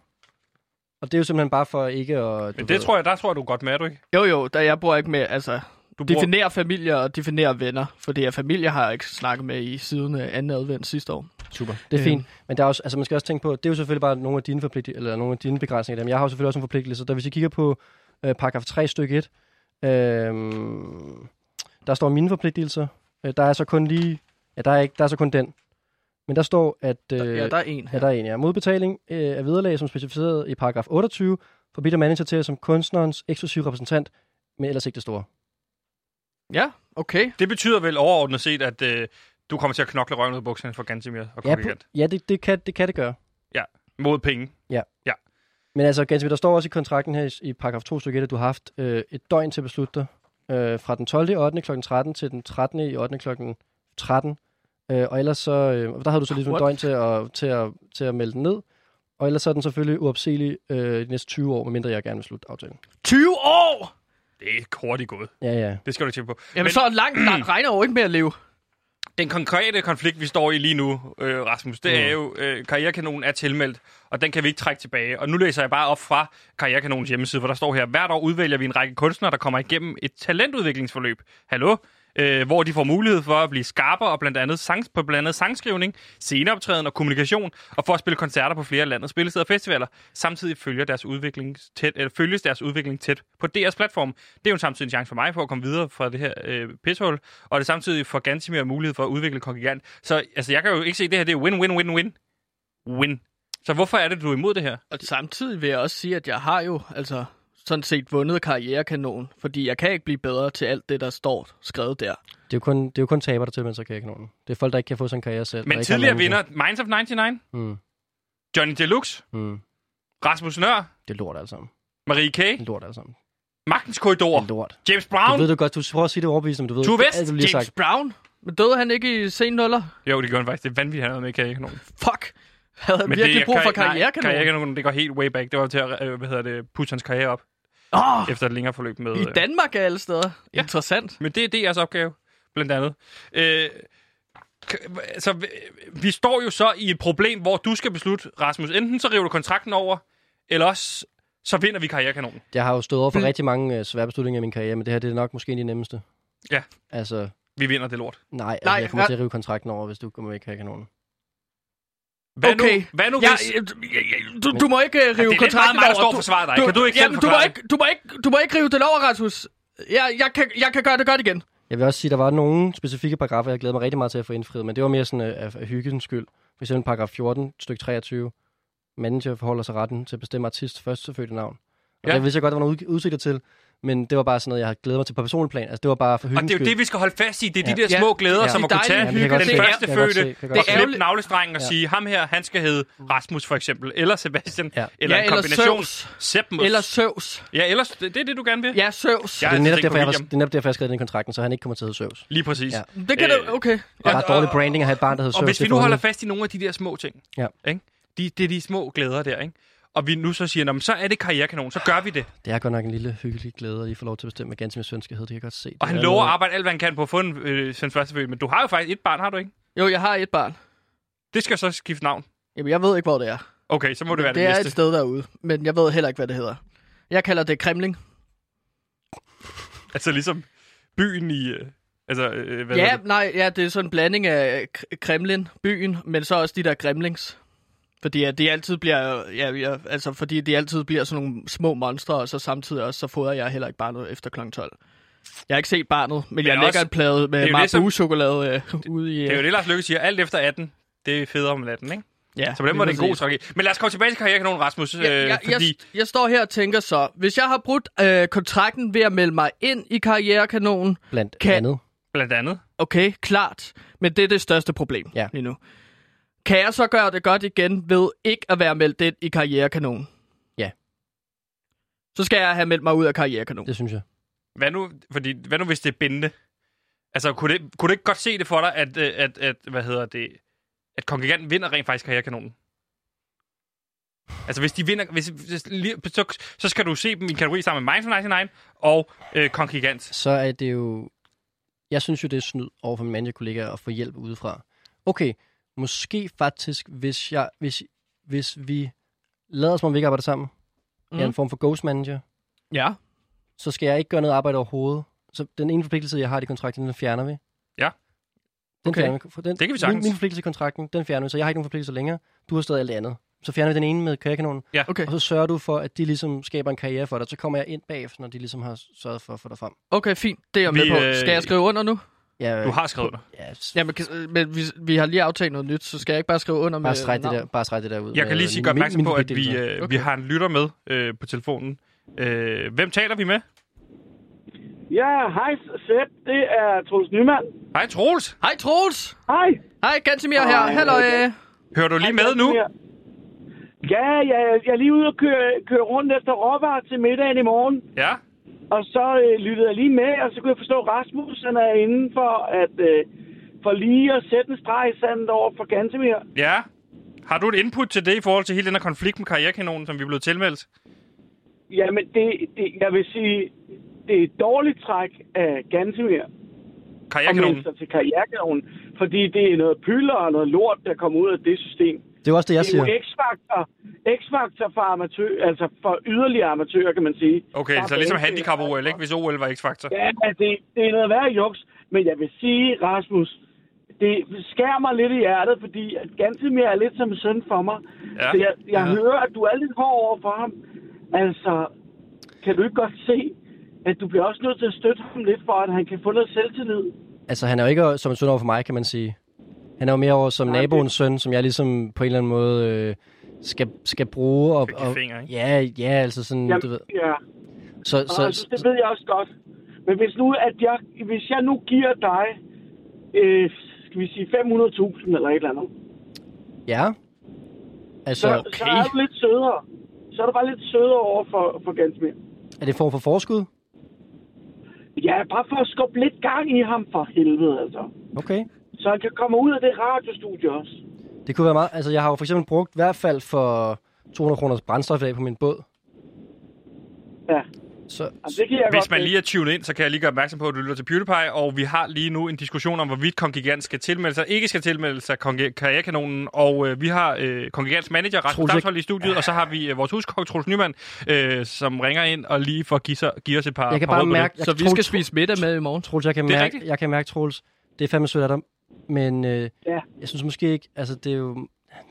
Og det er jo simpelthen bare for ikke at... du Men ved- det tror jeg, der tror jeg, du er godt med, er du ikke? Jo, jo, der jeg bor ikke med, altså... Du bruger- Definere familie og definere venner, for det er familie, har jeg ikke snakket med i siden øh, anden advent sidste år. Super. Det er Øhm. fint. Men der er også, altså man skal også tænke på, det er jo selvfølgelig bare nogle af dine forpligtelser, eller nogle af dine begrænsninger. Dem. Jeg har jo selvfølgelig også en forpligtelse. Der, hvis I kigger på øh, paragraf 3 stykke 1, øh, der står mine forpligtelser. Øh, der er så kun lige, ja, der er, ikke, der er så kun den. Men der står, at... Øh, ja, der er en Ja, her. der er en, ja. Modbetaling øh, af vederlag, som specificeret i paragraf 28, forbinder manager til som kunstnerens eksklusive repræsentant, men ellers ikke det store. Ja, okay. Det betyder vel overordnet set, at øh, du kommer til at knokle røven ud af bukserne for Gansimir og Ja, Kokke ja, ja det, det, kan, det kan det gøre. mod penge. Men altså, Gansby, der står også i kontrakten her i, i paragraf 2 stykke 1, at du har haft øh, et døgn til at beslutte dig. Øh, fra den 12. i 8. kl. 13 til den 13. i 8. kl. 13. Øh, og ellers så, øh, der havde du så ligesom et What? døgn til at, til, at, til at melde den ned. Og ellers så er den selvfølgelig uopsigelig øh, de næste 20 år, medmindre jeg gerne vil slutte aftalen. 20 år! Det er hurtigt gået. Ja, ja. Det skal du ikke tænke på. Jamen, Men- Men... så langt, langt regner jo ikke med at leve. Den konkrete konflikt, vi står i lige nu, øh, Rasmus, det mm. er jo, øh, Karrierekanonen er tilmeldt, og den kan vi ikke trække tilbage. Og nu læser jeg bare op fra Karrierekanonens hjemmeside, hvor der står her, hvert år udvælger vi en række kunstnere, der kommer igennem et talentudviklingsforløb. Hallo? Øh, hvor de får mulighed for at blive skarpere og blandt andet sang, på blandt andet sangskrivning, sceneoptræden og kommunikation, og for at spille koncerter på flere af landets spillesteder og festivaler. Samtidig følger deres udvikling tæt, eller følges deres udvikling tæt på DR's platform. Det er jo samtidig en chance for mig for at komme videre fra det her øh, pishul, og det er samtidig for Gansimir mulighed for at udvikle Kongigant. Så altså, jeg kan jo ikke se, at det her det er win-win-win-win. Win. Så hvorfor er det, du er imod det her? Og samtidig vil jeg også sige, at jeg har jo altså sådan set vundet karrierekanonen, fordi jeg kan ikke blive bedre til alt det, der står skrevet der. Det er jo kun, det er jo kun taber, der tilmelder sig karrierekanonen. Det er folk, der ikke kan få sådan en karriere selv. der Men ikke har tidligere manager. vinder Minds of 99, Mm, Johnny Deluxe, mm. Rasmus Nør, Det er lort alt sammen. Marie Det er K., lort alt sammen. Magtens Det er Korridor, lort. James Du ved Brown. det godt, du prøver at sige det overbevist, men du ved Tue det er West, alt, du lige har James sagt. Brown? Men døde han ikke i sen nuller? Jo, det gør han faktisk. Det er vanvittigt, han har noget med karrierekanonen. Fuck! Havde han Men virkelig det, brug for nej, karrierekanonen? Karrierekanonen, det går helt way back. Det var til at øh, hvad hedder det, putte hans karriere op Åh, oh, efter et længere forløb med... i øh, Danmark er alle steder. Ja. Interessant. Men det er DR's opgave, blandt andet. Øh, k- altså, vi- vi står jo så i et problem, hvor du skal beslutte, Rasmus, enten så river du kontrakten over, eller også så vinder vi karrierekanonen. Jeg har jo stået over for Mm. rigtig mange øh, svære beslutninger i min karriere, men det her det er nok måske en af de nemmeste. Ja. Altså, Vi vinder det lort. nej, altså, Nej, jeg kommer ja. til at rive kontrakten over, hvis du kommer væk her kanonen. Hvad Okay. nu, hvad nu Ja, hvis... ja, ja, du, du må ikke øh, rive Altså, det er lidt meget kontrakten mig, der står over. og forsvarer dig. Du, Kan du ikke selv jamen, du må forklare ikke, du, må ikke, du må ikke rive den over, Rasmus. Jeg, jeg, kan, jeg kan gøre det godt igen. Jeg vil også sige, at der var nogle specifikke paragrafer, jeg glæder mig rigtig meget til at få indfriet, men det var mere sådan øh, af, af hyggens skyld. For eksempel paragraf 14, stykke 23. Manager forholder sig retten til at bestemme artist først selvfølgelig navn. Og Ja. ja. det vidste jeg godt, der var nogle ud- udsigter til, men det var bare sådan noget, jeg havde glædet mig til på personplan. Altså, det var bare for Og hyggens det er jo skyld. det, vi skal holde fast i. Det er de Ja. der små glæder, Ja. som at Det er kunne tage dejligt. Ja, det kan den jeg godt se. første Jeg kan godt se. fødte Jeg kan og godt se. klippe Ærgerligt. navlestrengen og Ja. sige, ham her, han skal hedde Rasmus for eksempel, eller Sebastian, Ja. eller Ja, en eller kombination. Zeus. Septimus. Eller Søvs. Ja, ellers, det, det er det, du gerne vil. Ja, Søvs. Jeg Og det, er netop tænkt på derfor, jeg har, William. det er netop derfor, jeg har skrevet den i kontrakten, så han ikke kommer til at hedde Søvs. Lige præcis. Ja. Det kan Øh, du... Okay. Det er ret dårlig og- branding at have et barn, der hedder Og Søvs. hvis Det vi er nu for holder underligt. fast i nogle af de der små ting, Ja. ikke? De, det er de små glæder der, ikke? og vi nu så siger, "Nå, men så er det karrierekanon, så gør vi det. Det er godt nok en lille hyggelig glæde, at I får lov til at bestemme, hvad ganske min søn skal hedde. Det kan jeg godt se. Og han Det er lover at noget- arbejde alt, hvad han kan på at få en øh, Svend Sværdsø, men du har jo faktisk et barn, har du ikke? Jo, jeg har et barn. Det skal så skifte navn. Jamen, jeg ved ikke, hvor det er. Okay, så må det være det, det er næste. et sted derude, men jeg ved heller ikke, hvad det hedder. Jeg kalder det Kremling. Altså ligesom byen i... Øh, altså, øh, hvad Ja, hedder det? nej, ja, det er sådan en blanding af øh, K- Kremlin, byen, men så også de der Kremlings. Fordi at de altid bliver, ja, ja, altså fordi de altid bliver sådan nogle små monstre, og så samtidig også, så fodrer jeg heller ikke barnet efter kl. 12. Jeg har ikke set barnet, men, men jeg også- lægger en plade er med jo det, som- marabu-chokolade øh, ude i... Det er jo Øh. det, Lars Lykke siger. Alt efter 18, det er federe om natten, ikke? Ja, Så på den lige måde er det en god præcis. strategi. Men lad os komme tilbage til karrierekanonen, Rasmus. Øh, Jeg, jeg, fordi, jeg, jeg står her og tænker så, hvis jeg har brudt øh, kontrakten ved at melde mig ind i karrierekanonen, Blandt Kan- kan. andet. blandt andet, okay, klart, men det er det største problem ja. Ja. lige nu. Kan jeg så gøre det godt igen ved ikke at være meldt ind i karrierekanonen? Ja. Så skal jeg have meldt mig ud af karrierekanonen. Det synes jeg. hvad nu, fordi, hvad nu hvis det er bindende? Altså, kunne det, kunne det ikke godt se det for dig, at, øh, at, at hvad hedder det, at kongreganten vinder rent faktisk karrierekanonen? Altså, hvis de vinder, hvis, hvis, lige- så, så skal du se dem i en kategori sammen med Mindful 99 og øh, Kongregant. Så er det jo... Jeg synes jo, det er snyd over for mine mandlige kollegaer at få hjælp udefra. Okay, måske faktisk, hvis, jeg, hvis, hvis vi lader som om vi ikke arbejder sammen. Mm. Jeg er Mhm. en form for ghost manager. Ja. så skal jeg ikke gøre noget arbejde overhovedet. Så den ene forpligtelse, jeg har i det kontrakten, den fjerner vi. Ja. Den Okay. fjerner vi. For Den, Det kan vi Min, sagtens. min forpligtelse i kontrakten, den fjerner vi, så jeg har ikke nogen forpligtelse længere. Du har stadig alt det andet. Så fjerner vi den ene med karrierekanonen, Okay. og så sørger du for, at de ligesom skaber en karriere for dig. Så kommer jeg ind bagefter, når de ligesom har sørget for at få dig frem. okay, fint. Det er jeg Vi, med øh, på. Skal jeg skrive under nu? Ja, Du har skrevet det. Ja, s- Jamen, kan- øh, men vi, vi har lige aftalt noget nyt, så skal jeg ikke bare skrive under med... bare stræk det navn? der, bare stræk det der ud. Jeg kan med lige sige Øh, min- godt opmærksom min på, at vi, forpligtelse. øh, okay. vi Okay. har en lytter med øh, på telefonen. Øh, hvem taler vi med? Ja, hej Sepp, det er Troels Nyman. Hej Troels! Hej, Troels! Hej. Hej, Gantemir her. Hallo. øh. Hører du lige med nu? Ja, ja, jeg er lige ude og køre, køre rundt efter råvarer til middagen i morgen. Ja. Og så øh, lyttede jeg lige med, og så kunne jeg forstå, at Rasmus han er inde for, at, øh, for lige at sætte en streg i sandet over for Gantemir. Ja. Har du et input til det i forhold til hele den her konflikt med karrierekanonen, som vi er blevet tilmeldt? Jamen, det, det, jeg vil sige, det er et dårligt træk af Gantemir at melde Karrierekanonen? sig til karrierekanonen, fordi det er noget pyller og noget lort, der kommer ud af det system. Det er jo også det, jeg Det er siger. jo X-faktor, X-faktor for amatør, altså for yderligere amatører, kan man sige. Okay, Der er så ligesom bane- handicap-OL, ikke? Hvis OL var X-faktor. Ja, det, det er noget værre juks, men jeg vil sige, Rasmus, det skærer mig lidt i hjertet, fordi at ganske mere er lidt som en søn for mig. Ja. Så jeg, jeg Ja. ja. hører, at du er lidt hård over for ham. Altså, kan du ikke godt se, at du bliver også nødt til at støtte ham lidt, for at han kan få noget selvtillid? Altså, han er jo ikke som en søn over for mig, kan man sige. Han er jo mere over som Nej, naboens søn, som jeg ligesom på en eller anden måde øh, skal, skal bruge. Og, Skal give og, fingre, ikke? ja, ja, altså sådan, du ved. ja. Så, Så, så, altså, det ved jeg også godt. Men hvis nu, at jeg, hvis jeg nu giver dig, øh, skal vi sige 500.000 eller et eller andet, ja. så, Altså, okay. så er du lidt sødere. Så er du bare lidt sødere over for, for Gansmir. er det en form for forskud? Ja, bare for at skubbe lidt gang i ham for helvede, altså. Okay. Så han kan komme ud af det radiostudie også. Det kunne være meget. Altså, jeg har jo for eksempel brugt i hvert fald for 200 kroners brændstof i dag på min båd. Ja, Så, altså, det kan jeg Hvis godt man se. lige er tunet ind, så kan jeg lige gøre opmærksom på, at du lytter til PewDiePie, og vi har lige nu en diskussion om, hvorvidt Kongigant skal tilmelde sig, ikke skal tilmelde sig konge- karrierekanonen, og øh, vi har øh, Kongigants manager, Rasmus Troels ikke- Damshold, i studiet, og så har vi øh, vores huskok, Troels Nyman, øh, som ringer ind og lige får give, sig, give os et par jeg kan par bare råd på det. mærke... Jeg Så kan- vi Troels- skal spise middag med i morgen. Troels, jeg kan Det er mærke, rigtigt. jeg kan mærke, Troels, det er fandme sødt af dig. Men øh, Ja. jeg synes måske ikke, altså det er jo, det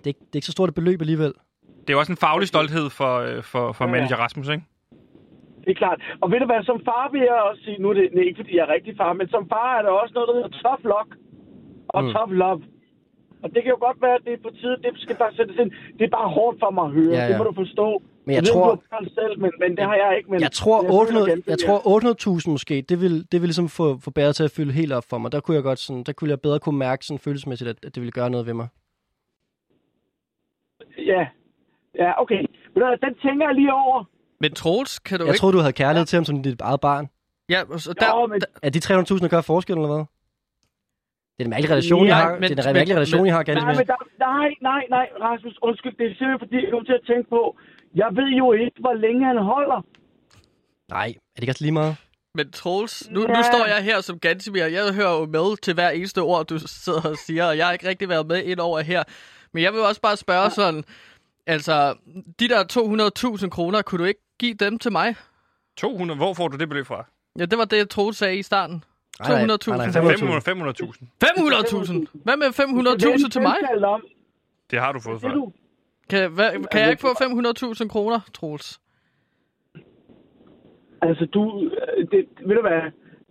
er, ikke, det er ikke så stort et beløb alligevel. Det er jo også en faglig stolthed for, øh, for, for Ja, ja. manager Rasmus, ikke? Det er klart. Og ved du hvad, som far vil jeg også sige, nu er det nej, ikke, fordi jeg er rigtig far, men som far er der også noget, der hedder tough luck og Mm. mm. tough love. Og det kan jo godt være, at det er på tide, det skal bare sættes ind. Det er bare hårdt for mig at høre, Ja, ja, ja. ja. det må du forstå. Men jeg ved, tror- du har børn selv, men, men det har jeg ikke. Men Jeg tror men føler 800, ganske, jeg ja. tror 800.000 måske, det vil, det vil ligesom få, få bæret til at fylde helt op for mig. Der kunne jeg godt sådan, der kunne jeg bedre kunne mærke sådan følelsesmæssigt, at, at det ville gøre noget ved mig. Ja, ja okay. Ved du hvad, den tænker jeg lige over. Men Troels, kan du Jeg ikke... troede, du havde kærlighed til ham som dit eget barn. Ja, og så der, Jo, men Er de 300.000, der gør forskel, eller hvad? Det er en mærkelig relation, jeg Nej, har. men- Det er en men- mærkelig relation, men- jeg har, ganske Nej, men der, nej, nej, nej, Rasmus, undskyld, det er simpelthen fordi, jeg kom til at tænke på, jeg ved jo ikke, hvor længe han holder. Nej, er det ikke også lige meget? Men Troels, nu, nu Ja. står jeg her som Gantemir. Jeg hører jo med til hver eneste ord, du sidder og siger, og jeg har ikke rigtig været med ind over her. Men jeg vil også bare spørge ja. sådan, altså, de der 200.000 kroner, kunne du ikke give dem til mig? 200, hvor får du det beløb fra? Ja, det var det, Troels sagde i starten. 200.000. 500 500.000. 500.000. 500.000! Hvad med 500.000 til mig? Det er om. Det har du fået Det før. er du. Kan, hvad, kan jeg ikke få 500.000 kroner, Troels? Altså, du, øh, det, ved du hvad,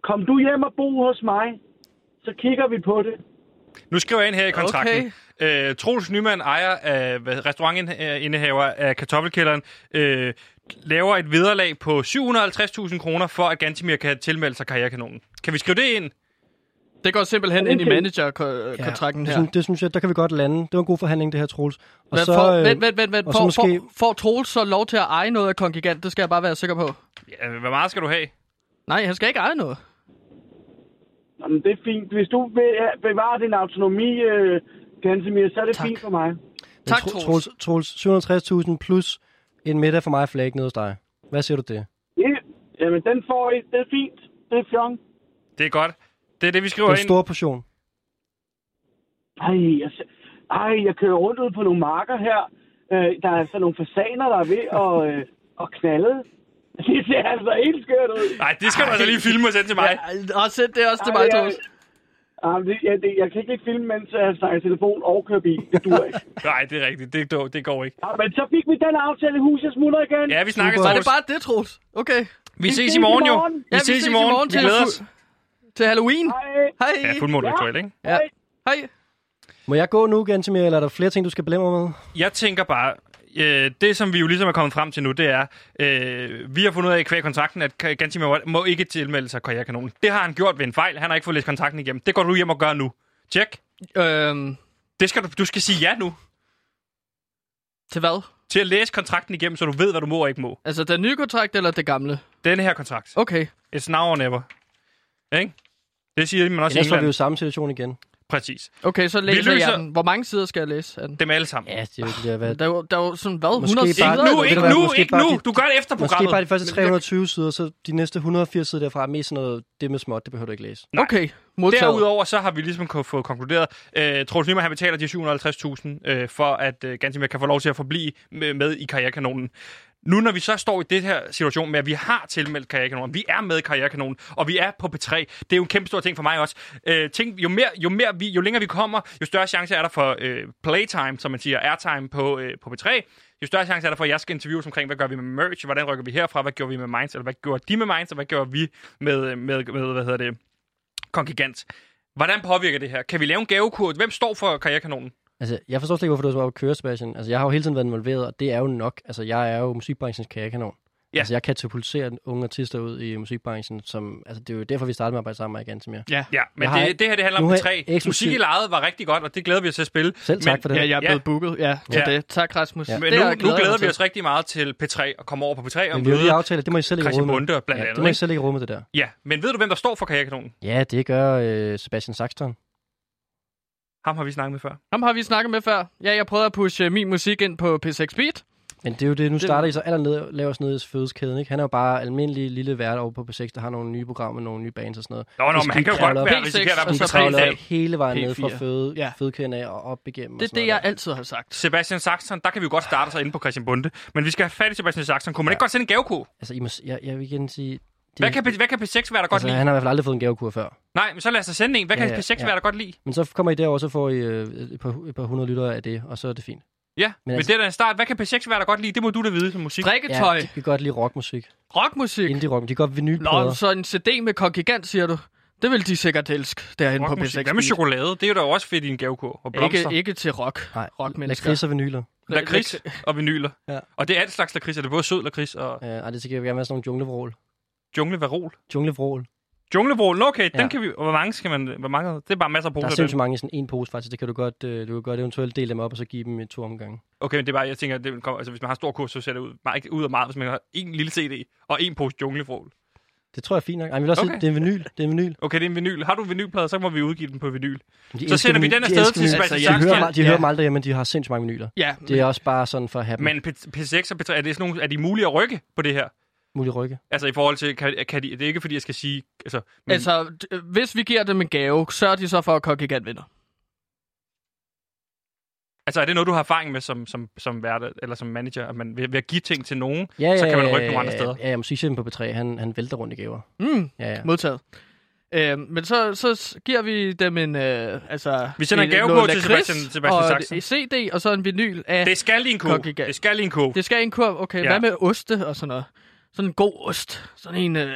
kom du hjem og bo hos mig, så kigger vi på det. Nu skriver jeg ind her i kontrakten. Okay. Øh, Troels Nyman, ejer af hvad- restaurantindehaver af Kartoffelkælderen, øh, laver et vederlag på 750.000 kroner for, at Gantimir kan tilmelde sig karrierekanonen. Kan vi skrive det ind? Det går simpelthen ind i Okay. managerkontrakten Det, her. synes, det synes jeg, der kan vi godt lande. Det var en god forhandling, det her, Troels. Og Hvad, så, får, øh, vent, vent, vent, vent. og så Får, måske- får, får Troels så lov til at eje noget af Kongigant? Det skal jeg bare være sikker på. Ja, hvor meget skal du have? Nej, han skal ikke eje noget. Jamen, det er fint. Hvis du vil øh, bevare din autonomi, øh, Gansimir, så er det tak. fint for mig. men Tak, Tro- Troels. Troels, 750.000 plus en middag for mig og Flake nede hos dig. Hvad siger du til det? Det, jamen, den får I. Det er fint. Det er fjong. Det er godt. Det er det, vi skriver Det det er ind. en stor portion. Ej, jeg, se- ej, jeg kører rundt ud på nogle marker her. Øh, der er altså nogle fasaner, der er ved at, øh, at knalde. Det ser altså helt skørt ud. Nej, det skal du altså lige filme og sende til mig. Ja. Ja, og send det også til mig, Ej, Troels. ej, ej, det, jeg, det, jeg kan ikke filme, mens jeg snakker i telefon og kører bil. Det dur ikke. Nej, det er rigtigt. Det, det, det går ikke. Ja, men så fik vi den aftale i huset smutter igen. Ja, vi snakkes, Var det Troels. bare det, Troels? Okay. Vi ses i morgen, jo. morgen. Vi ses i morgen. Vi til, glæder os. til Halloween. Hej. Hej. Ja, fuldmåne ritual, ikke? Ja. Hej. Må jeg gå nu, Gantemir, eller er der flere ting, du skal blæmme mig med? Jeg tænker bare, øh, det som vi jo ligesom er kommet frem til nu, det er, øh, vi har fundet ud af kvæg kontrakten, at Ka- Gantimir må- må ikke tilmelde sig karrierekanonen. Det har han gjort ved en fejl. Han har ikke fået læst kontrakten igennem. Det går du hjem og gør nu. Tjek. Øhm, Det skal du, du skal sige ja nu til hvad? til at læse kontrakten igennem, så du ved, hvad du må og ikke må. Altså, den nye kontrakt eller det gamle? Denne her kontrakt. Okay. It's now or never. Ikke? Det siger man også i Ellers var vi jo i England. samme situation igen. Præcis. Okay, så læser løser- jeg den. Hvor mange sider skal jeg læse af den? Dem alle sammen. Ja, det er jo ikke det, hvad... Der er jo, der er jo sådan, hvad? Måske 100 bare- Ikke sider? Ved du nu, hvad, ikke måske nu, bare ikke nu. de- Du gør det efter Måske programmet. bare de første 320 sider, så de næste 180 sider derfra er mest sådan noget, det med småt, det behøver du ikke læse. Okay, modtaget. Derudover så har vi ligesom ko- fået konkluderet, øh, Troels Nyman, han betaler de 750.000 øh, for, at øh, Gantimir kan få lov til at forblive med, med i karrierekanonen. Nu når vi så står i det her situation med, at vi har tilmeldt karrierekanonen, vi er med i karrierekanonen, og vi er på P3, det er jo en kæmpe stor ting for mig også. Øh, tænk, jo, mere, jo, mere vi, jo længere vi kommer, jo større chance er der for øh, playtime, som man siger, airtime på, øh, på P3. Jo større chance er der for, at jeg skal interviews omkring, hvad gør vi med merch, hvordan rykker vi herfra, hvad gjorde vi med Minds, eller hvad gjorde de med Minds, og hvad gjorde vi med, med, med hvad hedder det, Kongigant. Hvordan påvirker det her? Kan vi lave en gavekurve? Hvem står for karrierekanonen? Altså, jeg forstår slet ikke, hvorfor du er så meget på køre, Sebastian. Altså, jeg har jo hele tiden været involveret, og det er jo nok. Altså, jeg er jo musikbranchens kagekanon. Ja. Ja. Altså, jeg katapulterer unge artister ud i musikbranchen, som... Altså, det er jo derfor, vi startede med at arbejde sammen med igen til mere. Ja. Ja, men Jeg har det, ikke- det her det handler Nu om har de jeg tre. eksklusiv- Musik i lejet var rigtig godt, og det glæder vi os til at spille. Selv tak men, for det. Ja, jeg er Ja. blevet booket. Ja, Ja. ja. det. Tak, Rasmus. Ja. Det Men har nu, jeg nu glædet glæder mig vi til. os rigtig meget til P3 og komme over på P3 og Men vi har jo møde lige aftalt, at det må I selv ikke Christian råde med. Bunde blandt Ja, det andet. må I ikke? selv ikke råde med det der. Ja, men ved du, hvem der står for karrierekanonen? Ja, det gør øh, Sebastian Saxton. Ham har vi snakket med før. Ham har vi snakket med før. Ja, jeg prøvede at pushe øh, min musik ind på P6 Beat. Men det er jo det, nu starter I så allernede, laver sådan noget i fødeskæden, ikke? Han er jo bare almindelig lille vært over på P6, der har nogle nye programmer, nogle nye bands og sådan noget. Nå, nå, Vi men han kan jo kravler godt op- være P6 risikere at være og på så Vi P3 i kravler dag. hele vejen ned fra P4. føde, Ja. ja. fødekæden af og op igennem. Det er og det, sådan noget jeg der. altid har sagt. Sebastian Saxon, der kan vi jo godt starte sig inde på Christian Bunde. Men vi skal have fat i Sebastian Saxon. Kunne man ikke godt sende en gavekurve? Altså, I må, s- jeg, jeg vil igen sige... Det, Hvad kan, P- hvad kan P6 være, der godt altså, lide? han har i hvert fald aldrig fået en gavekur før. Nej, men så lad os da sende en. Hvad Ja, kan ja, P6 ja. være, der godt lide? Men så kommer I derover, så får I øh, et, par, et par hundrede lyttere af det, og så er det fint. Ja, men det altså- er da en start. Hvad kan P6 være, der godt lide? Det må du da vide som musik. Drikketøj. de kan godt lide rockmusik. Rockmusik. Indie-rock. De kan godt Nå, vinylplader. så en CD med kongigant, siger du? Det vil de sikkert elske, derhen på P6 Rockmusik. Hvad med Beat. chokolade? Det er jo da også fedt i en gavekurv. Og blomster. Ikke, ikke til rock. Nej, Rockmennesker. lakrids og vinyler. Lakrids og vinyler. Ja. Ja. Og det er alt slags lakrids. Er det både sød lakrids og Øh, ej, det skal gerne være sådan nogle junglevrål. junglevarol? Junglevrål. Junglevrål, nå okay, ja. den Ja. kan vi... Hvor mange skal man... Hvor mange? Det er bare masser af Der er poser. af sindssygt dem. mange i sådan en pose, faktisk. Det kan du godt, øh, du kan godt eventuelt dele dem op, og så give dem i to omgange. Okay, men det er bare, jeg tænker, det vil komme, altså, hvis man har stor kurs, så ser det ud, meget, ikke ud af meget, hvis man har en lille CD og en pose junglevrål. Det tror jeg er fint nok. Ej, men jeg vil også Okay. okay. sige, det er en vinyl. Det er en vinyl. Okay, det er en vinyl. Har du en vinylplade, så må vi udgive den på vinyl. De Så elsker sender vi vinyl. den De afsted elsker til vinyl. Altså, Sebastian De hører, Jackson. mig- de hører mig aldrig, men de har sindssygt mange vinyler. Ja, Det er også bare sådan for at have dem. Men P- P6 og P3, er, det sådan nogle, er de mulige at rykke på det her? Mulig rykke. Altså i forhold til, kan, kan de, det er ikke fordi, jeg skal sige... Altså, men, altså, Altså, d- øh, hvis vi giver dem en gave, sørger de så for, at Kongigant vinder. altså, er det noget, du har erfaring med som, som, som vært, eller som manager, at man ved, ved at give ting til nogen, Ja, ja, så kan man ja, rykke nogle ja, andre steder? Ja, ja musikchefen på B3, han, han vælter rundt i gaver. Mm, Ja, ja. modtaget. Øhm, men så, så s- giver vi dem en... Øh, altså, Vi sender en gave noget på til lakrids, Sebastian- Sebastian og Saxen. en CD, og så en vinyl af... Det skal i en kurv. Kokkegalt. Det skal i en Uh. kurv. Det skal i en kurv. Okay, Ja. ja. hvad med oste og sådan noget? Sådan en god ost. Sådan en øh,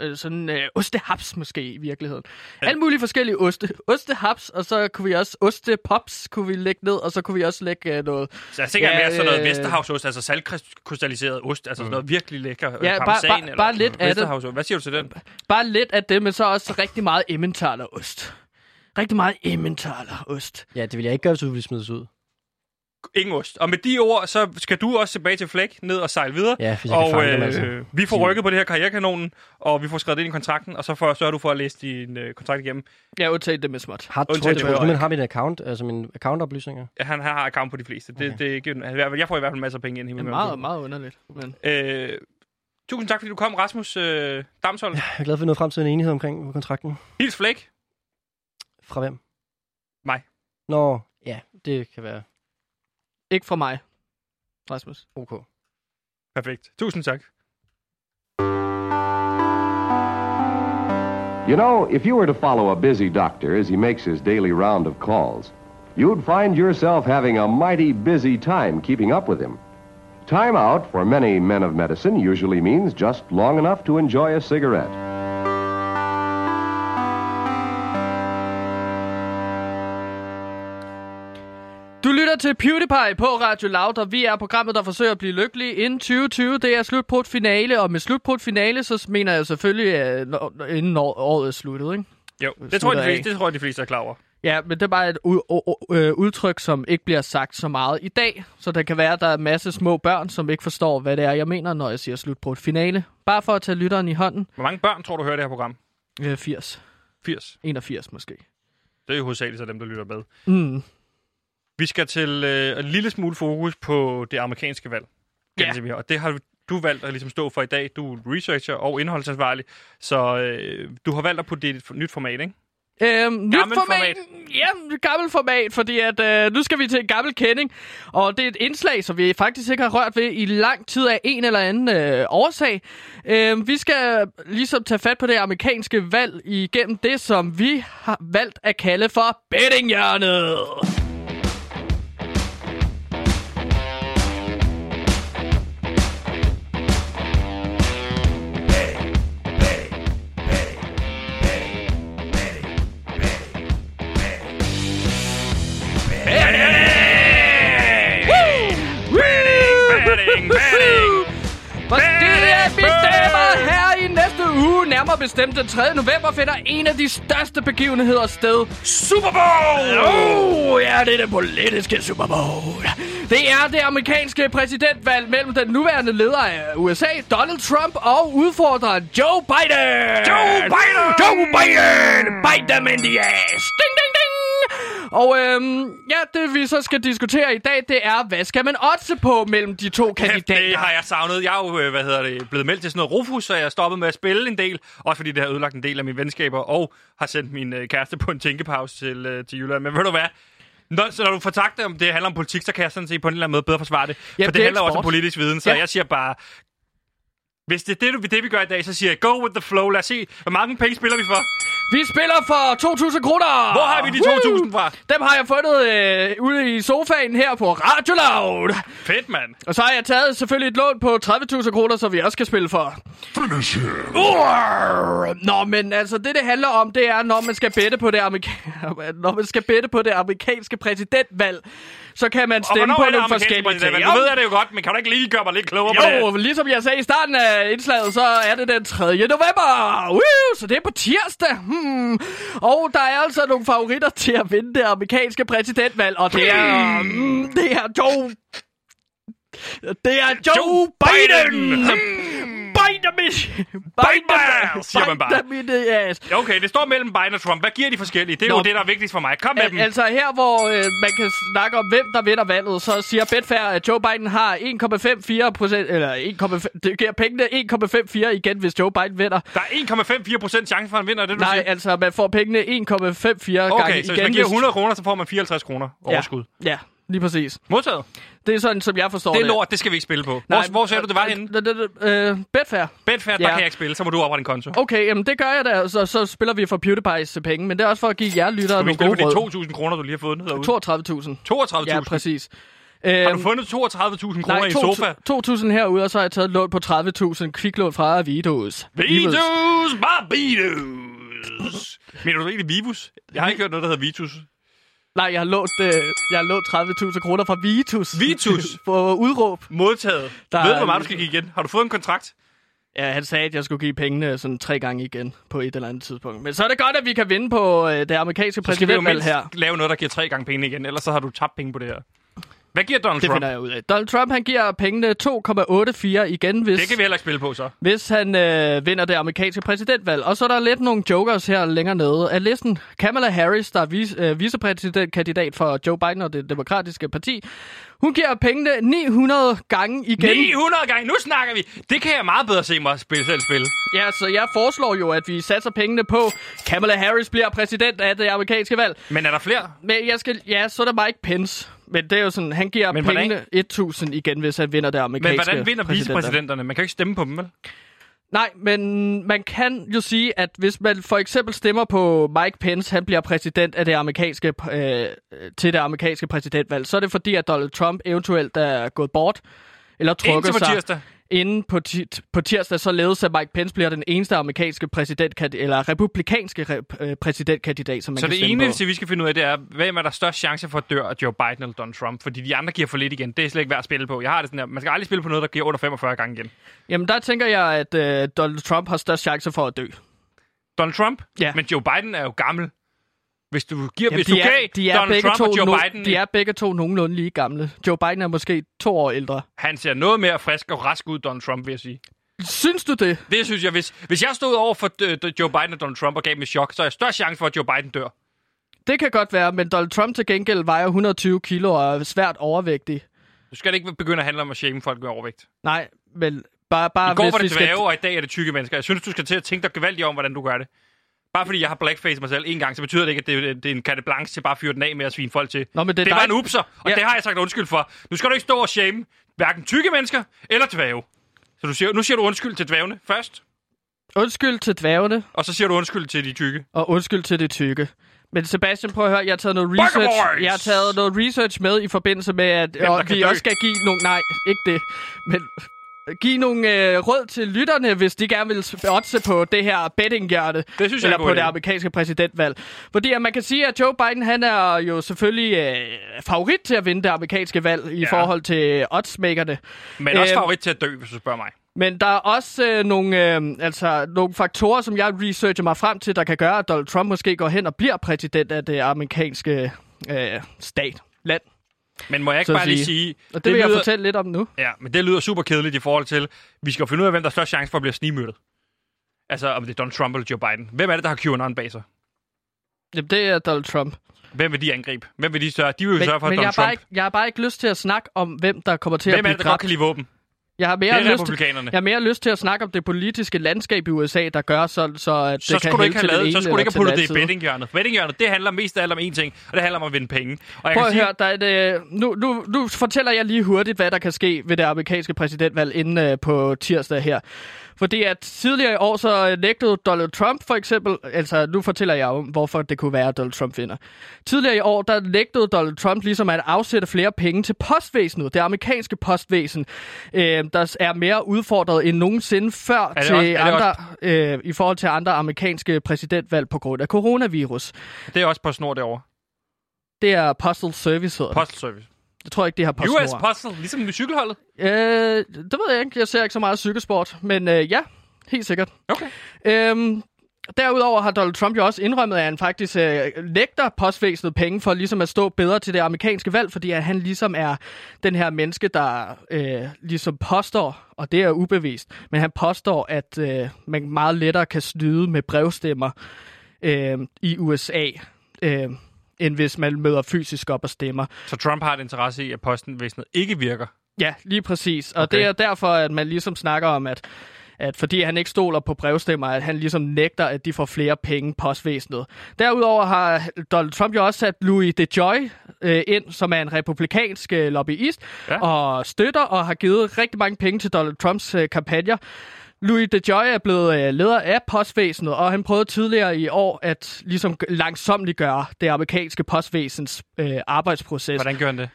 Øh, sådan øh, ostehaps måske i virkeligheden. Alle mulige forskellige oste. Ostehaps, og så kunne vi også ostepops kunne vi lægge ned, og så kunne vi også lægge øh, noget... Så jeg tænker Ja, ja, mere sådan noget øh, Vesterhavsost, altså saltkrystalliseret ost, altså sådan noget virkelig lækker øh, Ja, bare- parmesan bare- eller bare lidt af det. Vesterhavsost. Hvad siger du til den? Bare lidt af det, men så også rigtig meget emmentaler-ost. Rigtig meget emmentaler-ost. Ja, det ville jeg ikke gøre, hvis du ville smides ud. Ingen ost. Og med de ord, så skal du også tilbage til Flæk, ned og sejle videre. Ja, hvis jeg kan Og fange øh, dem, altså. vi får rykket på det her karrierekanonen, og vi får skrevet det ind i kontrakten, og så får, sørger du for at læse din øh, kontrakt igennem. Jeg udtalte det med småt. Har, tror, Undtagen tror, det tror, var du, man har mine account, altså mine accountoplysninger? Han, han har account på de fleste. Det, okay. det, giver den- han- i hvert fald- jeg får i hvert fald masser af penge ind i Det er min meget, meget underligt. Men... Øh, tusind tak, fordi du kom, Rasmus øh, Damsholm. Ja. Jeg er glad for, at vi nåede frem til en enighed omkring kontrakten. Hils Flæk. Fra hvem? Mig. Nå, ja, det kan være Ikke fra mig, Rasmus. ok. Perfekt. Tusind tak. You know, if you were to follow a busy doctor as he makes his daily round of calls, you'd find yourself having a mighty busy time keeping up with him. Time out for many men of medicine usually means just long enough to enjoy a cigarette. Du lytter til PewDiePie på Radio Loud, og vi er programmet, der forsøger at blive lykkelige inden 2020. Det er slutbrudt finale, og med slutbrudt finale, så mener jeg selvfølgelig, at øh, når- inden år- året er sluttet, ikke? Jo, slutter det tror, jeg, de af. fleste, det tror jeg, de fleste er klar over. Ja, men det er bare et u- u- u- øh, udtryk, som ikke bliver sagt så meget i dag, så der kan være, at der er en masse små børn, som ikke forstår, hvad det er, jeg mener, når jeg siger slutbrudt finale. Bare for at tage lytteren i hånden. Hvor mange børn tror du hører det her program? Øh, 80. 80. 81 måske. Det er jo hovedsageligt så dem, der lytter med. Mm. Vi skal til øh, en lille smule fokus på det amerikanske valg. Ja. Ja. Vi har. Og det har du valgt at ligesom stå for i dag. Du er researcher og indholdsansvarlig, så øh, du har valgt at putte det i et f- nyt format, ikke? Øhm, nyt Gammelt format. Ja, gammel format, fordi at, øh, nu skal vi til en gammel kending. Og det er et indslag, som vi faktisk ikke har rørt ved i lang tid af en eller anden øh, årsag. Øh, vi skal ligesom tage fat på det amerikanske valg igennem det, som vi har valgt at kalde for bettinghjørnet. Batting, batting. Og det er vi stemmer her i næste uge, nærmere bestemt den 3. november, finder en af de største begivenheder sted. Super Bowl! Oh, ja, det er den politiske Super Bowl. Det er det amerikanske præsidentvalg mellem den nuværende leder af USA, Donald Trump, og udfordreren Joe Biden. Joe Biden! Joe Biden! Bite them in the ass! Ding, ding, ding! Og øhm, ja, det vi så skal diskutere i dag, det er, hvad skal man otte på mellem de to Kæft, det kandidater? har jeg savnet. Jeg er jo, øh, hvad hedder det, blevet meldt til sådan noget rofus, så jeg er stoppet med at spille en del. Også fordi det har ødelagt en del af mine venskaber, og har sendt min øh, kæreste på en tænkepause til, øh, til Jylland. Men ved du hvad? Når, så når du får sagt det, om det handler om politik, så kan jeg sådan set på en eller anden måde bedre forsvare det. Ja, for det det, er handler jo også om eksport. politisk viden, så Ja. ja. jeg siger bare... Hvis det er det, du- det, vi gør i dag, så siger jeg, go with the flow. Lad os se, hvor mange penge spiller vi for? Vi spiller for 2.000 kroner! Hvor har vi de 2.000 fra? Dem har jeg fundet øh, ude i sofaen her på Radio Loud. Fedt, mand. Og så har jeg taget selvfølgelig et lån på 30.000 kroner, som vi også skal spille for. Finish Nå, men altså, det det handler om, det er, når man skal bette på det, amerika- når man skal bette på det amerikanske præsidentvalg, så kan man Og stemme hvornår på er det nogle amerikanske forskellige ting. præsident? Du ved jeg det jo godt, men kan du ikke lige gøre mig lidt klogere på det? Jo, ligesom jeg sagde i starten af indslaget, så er det den 3. november. Woo, så det er på tirsdag. Hmm. Og der er altså nogle favoritter til at vinde det amerikanske præsidentvalg, og det er, Hmm. mm, det er Joe... Det er Joe, Joe Biden! Hmm. Biden. Hmm. Biden! Biden! Biden, siger man bare. Biden! Biden! Ja, Okay, det står mellem Biden og Trump. Hvad giver de forskellige? Det er Nå. Nå. jo det, der er vigtigst for mig. Kom med dem. Al- altså her, hvor øh, man kan snakke om, hvem der vinder valget, så siger Betfair, at Joe Biden har 1,54 procent, eller 1,5, det giver pengene 1,54 igen, hvis Joe Biden vinder. Der er 1,54 procent chance for, at han vinder, er det du Nej, siger? altså man får pengene 1,54 gange Okay, så igen. hvis man giver hvis- 100 kroner, så får man 54 kroner overskud. Ja, ja, lige præcis. Modtaget. Det er sådan, som jeg forstår Det det. er lort, det skal vi ikke spille på. Hvor, hvor sagde du, det var henne? henne? Øh, Betfair. Betfair, Ja. der kan jeg ikke spille, så må du oprette en konto. Okay, jamen det gør jeg da, så, så spiller vi for PewDiePie's penge, men det er også for at give jer lyttere Du kan nogle ikke spille gode for råd. de 2.000 kroner, du lige har fået ned herude. 32.000. 32.000? Ja, præcis. Øhm, Har du fundet 32.000 kroner i en sofa? 2.000 herude, og så har jeg taget et lån på 30.000 kviklån fra Vidos. Vitus! Barbitus! Mener du egentlig Vivus? Jeg har ikke hørt noget, der hedder Vitus. Nej, jeg har lånt, øh, jeg har lånt 30.000 kroner fra Vitus. Vitus? på udråb. Modtaget. Der Der er- Ved du, hvor meget du skal give igen? Har du fået en kontrakt? Ja, han sagde, at jeg skulle give pengene sådan tre gange igen på et eller andet tidspunkt. Men så er det godt, at vi kan vinde på øh, det amerikanske Så skal vi jo præsidentvalg mindst her. lave noget, der giver tre gange penge igen, ellers så har du tabt penge på det her. Hvad giver Donald Det Trump? finder jeg ud af. Donald Trump, han giver pengene 2,84 igen, hvis... Det kan vi heller ikke spille på, så. hvis han øh, vinder det amerikanske præsidentvalg. Og så er der lidt nogle jokers her længere nede af listen. Kamala Harris, der er vis, øh, vicepræsidentkandidat for Joe Biden og det demokratiske parti, hun giver pengene 900 gange igen. 900 gange, nu snakker vi! Det kan jeg meget bedre se mig spille, selv spille. Ja, så jeg foreslår jo, at vi satser pengene på, Kamala Harris bliver præsident af det amerikanske valg. Men er der flere? Men jeg skal, ja, så er der Mike Pence. Men det er jo sådan, han giver Men hvordan- pengene 1000 igen, hvis han vinder det Men amerikanske hvordan vinder præsidentvalg. vicepræsidenterne? Man kan jo ikke stemme på dem, vel? Nej, men man kan jo sige, at hvis man for eksempel stemmer på Mike Pence, han bliver præsident af det amerikanske, øh, til det amerikanske præsidentvalg, så er det fordi, at Donald Trump eventuelt er gået bort eller trukket Indtil på sig tirsdag. inden på, ti- på tirsdag, således at Mike Pence bliver den eneste amerikanske præsidentkandidat, eller republikanske rep- øh, præsidentkandidat, som man Så kan det stemme på. eneste, vi skal finde ud af, det er, hvem er der størst chance for at dø af Joe Biden eller Donald Trump? Fordi de andre giver for lidt igen. Det er slet ikke værd at spille på. Jeg har det sådan her, man skal aldrig spille på noget, der giver under 45 gange igen. Jamen der tænker jeg, at øh, Donald Trump har størst chance for at dø. Donald Trump? Ja. Men Joe Biden er jo gammel. Hvis du, giver, Jamen, hvis du de er, gav de er Donald begge Trump to og Joe no- Biden, De er begge to nogenlunde lige gamle. Joe Biden er måske to år ældre. han ser noget mere frisk og rask ud, Donald Trump, vil jeg sige. Synes du det? Det synes jeg, hvis, hvis jeg stod over for øh, Joe Biden og Donald Trump og gav dem et chok, så er jeg større chance for, at Joe Biden dør. Det kan godt være, men Donald Trump til gengæld vejer 120 kilo og er svært overvægtig. Du skal det ikke begynde at handle om at shame folk med overvægt. Nej, men bare, bare I går hvis var vi det skal... dvæve, og i dag er det tykke mennesker. Jeg synes, du skal til at tænke dig gevaldigt om, hvordan du gør det. Bare fordi jeg har blackface mig selv en gang, så betyder det ikke, at det, det er en carte blanche til bare at fyre den af med at svine folk til. Nå, men det er det var dig- en upser, og Ja. ja. det har jeg sagt undskyld for. Nu skal du ikke stå og shame hverken tykke mennesker eller dvæve. Så du siger, nu siger du undskyld til dvævene først, Undskyld til dvævene, og så siger du undskyld til de tykke. og undskyld til det tykke. Men Sebastian, prøv at høre, jeg har taget noget Bukker research, boys! jeg har taget noget research med i forbindelse med, at der og kan vi dø. også skal give nogle... Nej, ikke det. Men give nogle øh, råd til lytterne, hvis de gerne vil otte på det her bettinghjørte. Det synes jeg er eller en på god det idé. amerikanske præsidentvalg. Fordi at man kan sige, at Joe Biden han er jo selvfølgelig øh, favorit til at vinde det amerikanske valg i Ja. forhold til oddsmakerne. Men også Øhm, favorit til at dø, hvis du spørger mig. Men der er også øh, nogle, øh, altså, nogle faktorer, som jeg researcher mig frem til, der kan gøre, at Donald Trump måske går hen og bliver præsident af det amerikanske øh, stat, land. Men må jeg ikke så at bare lige sige- sige... Og det, det vil jeg lyder, fortælle lidt om nu. Ja, men det lyder super kedeligt i forhold til, vi skal jo finde ud af, hvem der er størst chance for at blive snigmyrdet. Altså, om det er Donald Trump eller Joe Biden. Hvem er det, der har QAnon bag sig? Jamen, det er Donald Trump. Hvem vil de angribe? Hvem vil de sørge? De vil jo Men, sørge for, at men jeg, Donald har bare Trump... ikke, jeg har bare ikke lyst til at snakke om, hvem der kommer til Hvem er at det, der blive godt dræbt. kan lide våben? Jeg har Det mere er lyst til... republikanerne. Jeg har mere lyst til at snakke om det politiske landskab i USA, der gør sådan, så at Så det kan skulle, du ikke hælde have til lavet, den så ene skulle du ikke eller have puttet det i til den anden side. bettinghjørnet. Bettinghjørnet, det handler mest af alt om én ting, og det handler om at vinde penge. Og jeg Prøv kan at sige, høre, der er et, øh, nu, nu, nu fortæller jeg lige hurtigt, hvad der kan ske ved det amerikanske præsidentvalg inden øh, på tirsdag her. Fordi at tidligere i år, så øh, nægtede Donald Trump for eksempel, altså nu fortæller jeg om, hvorfor det kunne være, at Donald Trump vinder. Tidligere i år, der nægtede Donald Trump ligesom at afsætte flere penge til postvæsenet, det amerikanske postvæsen, øh, der er mere udfordret end nogensinde før det til også- er det andre, øh, i forhold til andre amerikanske præsidentvalg på grund af coronavirus. det er også på snor derovre. Det er Postal Service, hedder det. Postal Service. Jeg tror ikke, det har PostNord. US Postal, ligesom med cykelholdet. Øh, det ved jeg ikke. Jeg ser ikke så meget cykelsport, men øh, ja, helt sikkert. Okay. Øhm, derudover har Donald Trump jo også indrømmet, at han faktisk øh, lægter postvæsenet penge for ligesom at stå bedre til det amerikanske valg, fordi at han ligesom er den her menneske, der øh, ligesom påstår, og det er ubevist, men han påstår, at øh, man meget lettere kan snyde med brevstemmer øh, i USA, øh, end hvis man møder fysisk op og stemmer. Så Trump har et interesse i, at postenvæsenet ikke virker. Ja, lige præcis. Og okay. Okay. det er derfor, at man ligesom snakker om, at, at fordi han ikke stoler på brevstemmer, at han ligesom nægter, at de får flere penge postvæsenet. Derudover har Donald Trump jo også sat Louis DeJoy øh, ind, som er en republikansk øh, lobbyist ja. Ja. og støtter og har givet rigtig mange penge til Donald Trumps øh, kampagner. Louis DeJoy er blevet øh, leder af postvæsenet, og han prøvede tidligere i år at ligesom langsomt gøre det amerikanske postvæsens øh, arbejdsproces. Hvordan gør han det?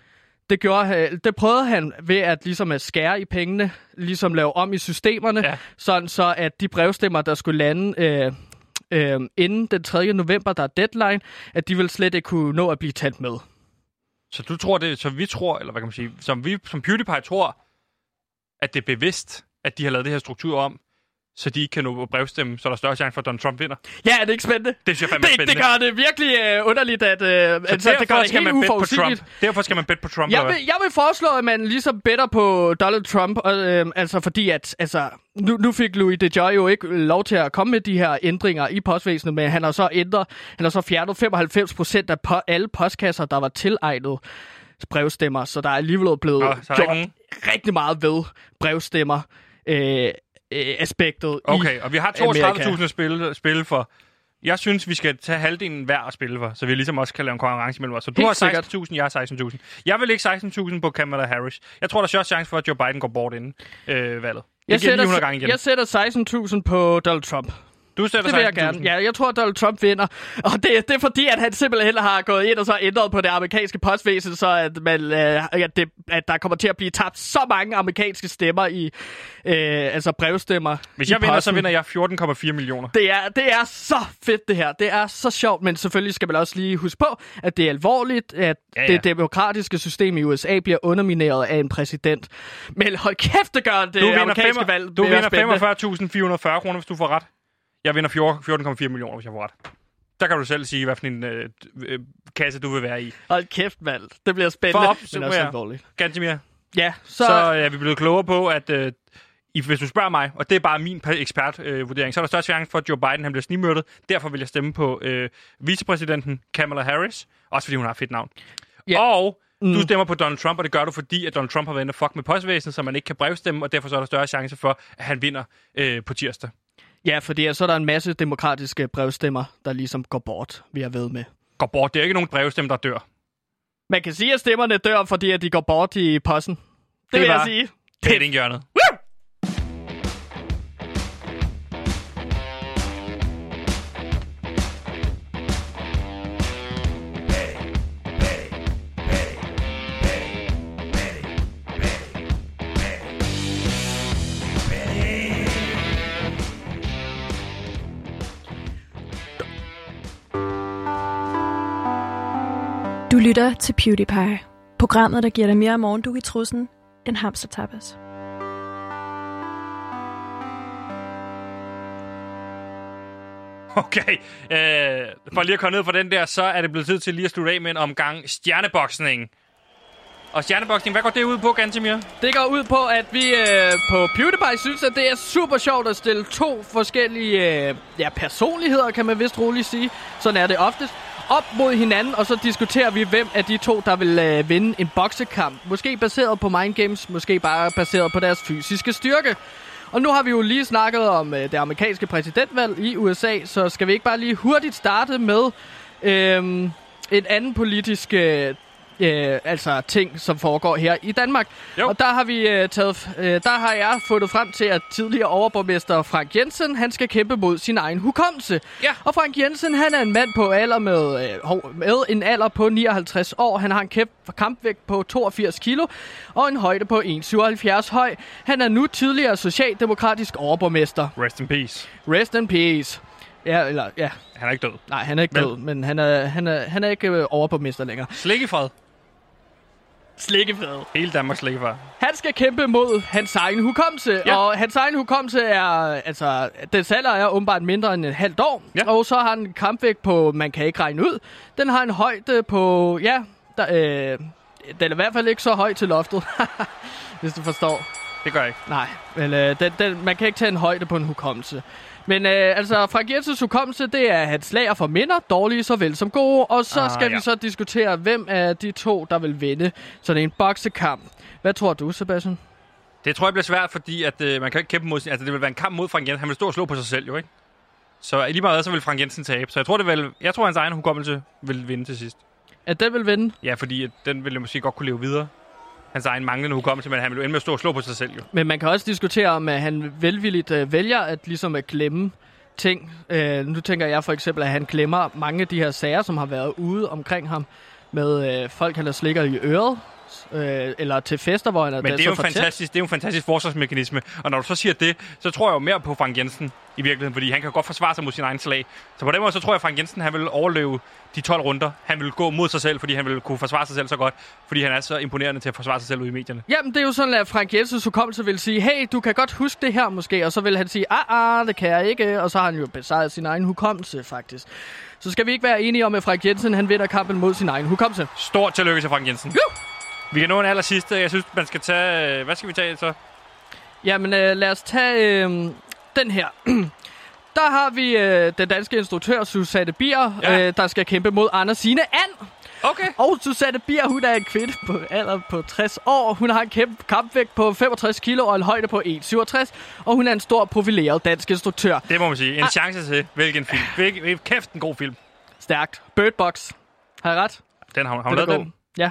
Det, gjorde, han- det prøvede han ved at, ligesom at skære i pengene, ligesom lave om i systemerne, Ja. ja. sådan så at de brevstemmer, der skulle lande øh, øh, inden den 3. november, der er deadline, at de ville slet ikke kunne nå at blive talt med. Så du tror det, så vi tror, eller hvad kan man sige, som vi som PewDiePie tror, at det er bevidst, at de har lavet det her struktur om, så de ikke kan nå at brevstemme, så der er større chance for, at Donald Trump vinder. Ja, er det ikke spændende? Det synes jeg fandme er Det, det spændende. gør det virkelig øh, underligt, at øh, så altså, derfor det gør det skal helt man bet på uforudsigeligt. Trump. Derfor skal man bet på Trump. Jeg eller hvad? vil, jeg vil foreslå, at man ligesom better på Donald Trump, og, øh, altså fordi at, altså, nu, nu fik Louis DeJoy jo ikke lov til at komme med de her ændringer i postvæsenet, men han har så ændret, han har så fjernet 95 procent af po- alle postkasser, der var tilegnet brevstemmer, så der er alligevel blevet Nå, Nå, så er der gjort ikke nogen- rigtig meget ved brevstemmer øh, øh, aspektet i Okay, og vi har Amerika. 32.000 at spille, at spille for. Jeg synes, vi skal tage halvdelen hver at spille for, så vi ligesom også kan lave en konkurrence mellem os. Så du Helt har 16.000, jeg har 16.000. Jeg vil ikke 16.000 på Kamala Harris. Jeg tror, der er større chance for, at Joe Biden går bort inden øh, valget. Jeg Jeg det giver sætter, 900 gange igen. jeg sætter 16.000 på Donald Trump. du sætter Det vil jeg gerne. 16.000. Ja, jeg tror, at Donald Trump vinder. Og det, det er fordi, at han simpelthen har gået ind og så ændret på det amerikanske postvæsen, så at, man, øh, at, det, at der kommer til at blive tabt så mange amerikanske stemmer i, øh, altså brevstemmer. Hvis i jeg vinder, så posten. vinder jeg 14,4 millioner. Det er, det er så fedt, det her. Det er så sjovt, men selvfølgelig skal man også lige huske på, at det er alvorligt, at Ja, ja, ja. ja. det demokratiske system i USA bliver undermineret af en præsident. Men hold kæft, det gør det Du vinder, amerikanske fem- valg. du mere vinder spændende. 45.440 kroner, hvis du får ret. Jeg vinder 14,4 millioner, hvis jeg får ret. Der kan du selv sige, hvad for en øh, øh, kasse du vil være i. Hold kæft, mand. Det bliver For spændende, at men også opsummere, alvorligt. Gantimir, Ja, så, så, så er vi blevet klogere på, at øh, i- hvis du spørger mig, og det er bare min pe- ekspertvurdering, øh, vurdering, så er der større chance for, at Joe Biden han bliver snimørtet. Derfor vil jeg stemme på øh, vicepræsidenten Kamala Harris, også fordi hun har et fedt navn. Ja. Og du stemmer på Donald Trump, og det gør du, fordi at Donald Trump har været inde og fuck med postvæsenet, så man ikke kan brevstemme, og derfor så er der større chance for, at han vinder øh, på tirsdag. ja, fordi så er der en masse demokratiske brevstemmer, der ligesom går bort, vi er ved med. Går bort. Det er ikke nogen brevstemme, der dør. Man kan sige, at stemmerne dør, fordi at de går bort i posten. Det, det vil var jeg sige. Pettinghjørnet. Du lytter til PewDiePie. Programmet, der giver dig mere morgendug i trussen end hamstertapas. Okay, øh, for lige at komme ned fra den der, så er det blevet tid til lige at slutte af med en omgang stjerneboksning. Og stjerneboksning, hvad går det ud på, Gantemir? Det går ud på, at vi øh, på PewDiePie synes, at det er super sjovt at stille to forskellige øh, ja, personligheder, kan man vist roligt sige. Sådan er det oftest. Op mod hinanden, og så diskuterer vi, hvem af de to, der vil øh, vinde en boksekamp. Måske baseret på Mind Games, måske bare baseret på deres fysiske styrke. Og nu har vi jo lige snakket om øh, det amerikanske præsidentvalg i USA, så skal vi ikke bare lige hurtigt starte med øh, en anden politisk øh, øh, altså ting, som foregår her i Danmark. Jo. Jo. Og der har vi øh, taget, øh, der har jeg fundet frem til, at tidligere overborgmester Frank Jensen, han skal kæmpe mod sin egen hukommelse. Ja. Og Frank Jensen, han er en mand på alder med, øh, hov, med en alder på 59 år. Han har en kæmpe kampvægt på 82 kilo og en højde på 1,77 høj. Han er nu tidligere socialdemokratisk overborgmester. Rest in peace. Rest in peace. Ja, eller ja. Han er ikke død. Nej, han er ikke Men- død, men han er, han er, han er ikke øh, overborgmester længere. Slik i fred. Slikkefred. Hele Danmarks slik i fred. Han skal kæmpe mod hans egen hukommelse, Ja. ja. og hans egen hukommelse er, altså, dens alder er åbenbart mindre end et halvt år, Ja. ja. og så har han en kampvægt på, man kan ikke regne ud, den har en højde på, ja, der, øh, den er i hvert fald ikke så høj til loftet, hvis du forstår. Det gør jeg ikke. Nej, men øh, den, den, man kan ikke tage en højde på en hukommelse. Men øh, altså, Frank Jensens hukommelse, det er hans lager for minder, dårlige såvel som gode. Og så Ah, ah, skal ja. ja. vi så diskutere, hvem af de to, der vil vinde sådan en boksekamp. Hvad tror du, Sebastian? Det tror jeg bliver svært, fordi at, øh, man kan ikke kæmpe mod sin... Altså, det vil være en kamp mod Frank Jensen. Han vil stå og slå på sig selv, jo ikke? Så lige meget hvad, så vil Frank Jensen tabe. Så jeg tror, det vil, jeg tror hans egen hukommelse vil vinde til sidst. At den vil vinde. Ja, fordi at den ville måske godt kunne leve videre. Hans egen manglende hukommelse, men han ville jo ende med at stå og slå på sig selv, jo. Men man kan også diskutere, om at han velvilligt øh, vælger at ligesom at glemme ting. Øh, nu tænker jeg for eksempel, at han glemmer mange af de her sager, som har været ude omkring ham med øh, folk, han har slikker i øret, øh, eller til fester, hvor han er Men det er, jo en så fortæt. fantastisk, det er jo en fantastisk forsvarsmekanisme. Og når du så siger det, så tror jeg jo mere på Frank Jensen i virkeligheden, fordi han kan jo godt forsvare sig mod sin egen slag. Så på den måde, så tror jeg, at Frank Jensen han vil overleve de 12 runder. Han vil gå mod sig selv, fordi han vil kunne forsvare sig selv så godt, fordi han er så imponerende til at forsvare sig selv ude i medierne. Jamen, det er jo sådan, at Frank Jensens hukommelse vil sige, hey, du kan godt huske det her måske, og så vil han sige, ah, ah, det kan jeg ikke, og så har han jo besejret sin egen hukommelse, faktisk. Så skal vi ikke være enige om, at Frank Jensen, han vinder kampen mod sin egen hukommelse. Stort tillykke til Frank Jensen. Juhu! Vi kan nå en aller sidste. Jeg synes, man skal tage... øh, Hvad skal vi tage så? Jamen, øh, lad os tage øh, den her. Der har vi øh, den danske instruktør Susanne Bier, Ja. ja. øh, der skal kæmpe mod Anders Sine And. Okay. Og Susanne Bier, hun er en kvinde på alder på 60 år. Hun har en kæmpe kampvægt på 65 kilo og en højde på 1,67. Og hun er en stor profileret dansk instruktør. Det må man sige. Ah. En chance til. Hvilken film. Hvilken, kæft en god film. Stærkt. Bird Box. Har jeg ret? Den har, har hun Den er lavet god. den. Ja.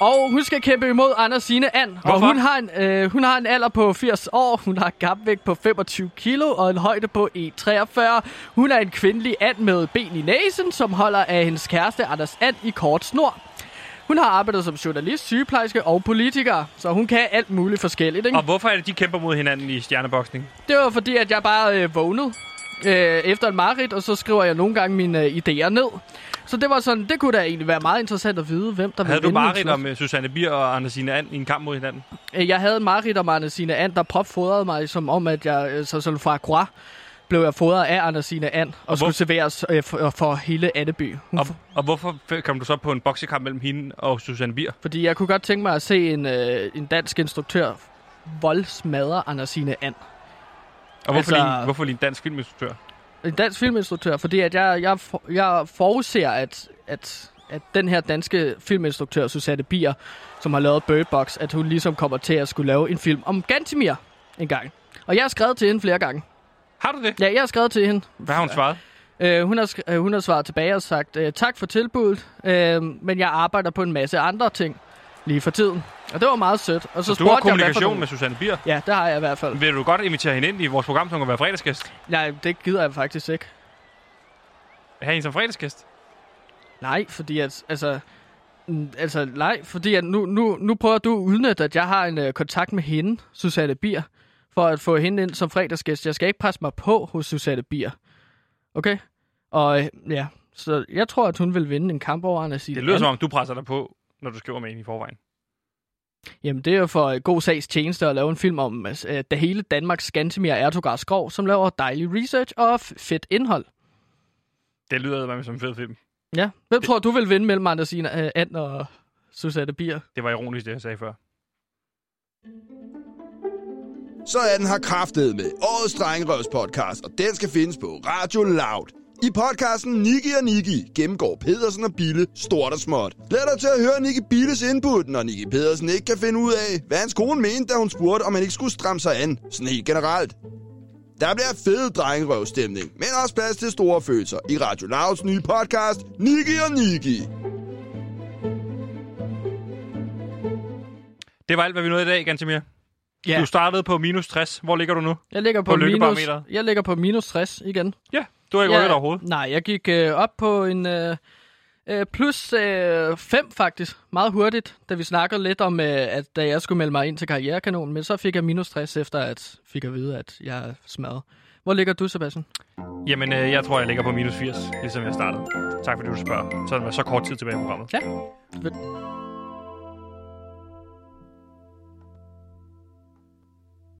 Og hun skal kæmpe imod Anders Sine And. Hvorfor? Og hun har, en, øh, hun har en alder på 80 år, hun har en kampvægt på 25 kilo og en højde på 1,43. Hun er en kvindelig and med ben i næsen, som holder af hendes kæreste Anders And i kort snor. Hun har arbejdet som journalist, sygeplejerske og politiker, så hun kan alt muligt forskelligt. Ikke? Og hvorfor er det, de kæmper mod hinanden i stjerneboksning? Det var fordi, at jeg bare øh, vågnede øh, efter en mareridt, og så skriver jeg nogle gange mine øh, idéer ned. Så det var sådan, det kunne da egentlig være meget interessant at vide, hvem der Havde ville du vinde mareridt en om øh, Susanne Bier og Andersine And i en kamp mod hinanden? Øh, Jeg havde en mareridt om Andersine And, der propfodrede mig, som om, at jeg øh, så sådan fra Croix blev jeg fodret af Andersine And, og, og skulle serveres øh, for, for hele Anneby. Hun, Og, og hvorfor f- kom du så på en boksekamp mellem hende og Susanne Bier? fordi jeg kunne godt tænke mig at se en, øh, en dansk instruktør voldsmadre Andersine And. Og hvorfor, altså... Altså- lige, en- hvorfor lige en dansk filminstruktør? En dansk filminstruktør, fordi at jeg, jeg, for, jeg forudser, at, at, at den her danske filminstruktør, Susanne Bier, som har lavet Bird Box, at hun ligesom kommer til at skulle lave en film om Gantimir en gang. Og jeg har skrevet til hende flere gange. Har du det? Ja, jeg har skrevet til hende. Hvad har hun svaret? Øh, hun, har, sk- øh, hun har svaret tilbage og sagt, øh, tak for tilbuddet, øh, men jeg arbejder på en masse andre ting lige for tiden. Og det var meget sødt. Og så, Så du har spurgte jeg, hvad for kommunikation nogle- med Susanne Bier. Ja, det har jeg i hvert fald. Vil du godt invitere hende ind i vores program, så hun kan være fredagsgæst? Nej, det gider jeg faktisk ikke. Have hende som fredagsgæst? Nej, fordi at, altså... mm, Altså, nej, fordi at nu, nu, nu prøver du at udnytte, at jeg har en øh, kontakt med hende, Susanne Bier, for at få hende ind som fredagsgæst. Jeg skal ikke presse mig på hos Susanne Bier. Okay? Og øh, ja, så jeg tror, at hun vil vinde en kamp over Anna Sine. Det lyder som om, du presser dig på, når du skriver med hende i forvejen. Jamen, det er jo for øh, god sags tjeneste at lave en film om, altså, øh, da hele Danmarks Skantemir Ertogar Skov, som laver dejlig research og f- fedt indhold. Det lyder med som en fed film. Ja. Hvem det... tror du vil vinde mellem Andersine øh, And og Susanne Bier? Det var ironisk, det jeg sagde før. Så er den her kraftet med årets Drengerøvs podcast, og den skal findes på Radio Loud. I podcasten Niki og Niki gennemgår Pedersen og Bille stort og småt. Lad dig til at høre Niki Billes input, når Niki Pedersen ikke kan finde ud af, hvad hans kone mente, da hun spurgte, om han ikke skulle stramme sig an, sådan helt generelt. Der bliver fed drengerøvstemning, men også plads til store følelser i Radio Louds nye podcast, Niki og Niki. Det var alt, hvad vi nåede i dag, Gantemir. Ja. Du startede på minus 60. Hvor ligger du nu? Jeg ligger på, På minus, lykkebarometeret? jeg ligger på minus 60 igen. Ja, du har ikke rykket overhovedet. Nej, jeg gik øh, op på en øh, øh, plus øh, 5 faktisk, meget hurtigt, da vi snakkede lidt om, øh, at da jeg skulle melde mig ind til Karrierekanonen, men så fik jeg minus 60 efter at fik at vide, at jeg er smadret. Hvor ligger du, Sebastian? Jamen, øh, jeg tror, jeg ligger på minus 80, ligesom jeg startede. Tak fordi du spørger. Så er der så kort tid tilbage i programmet. Ja.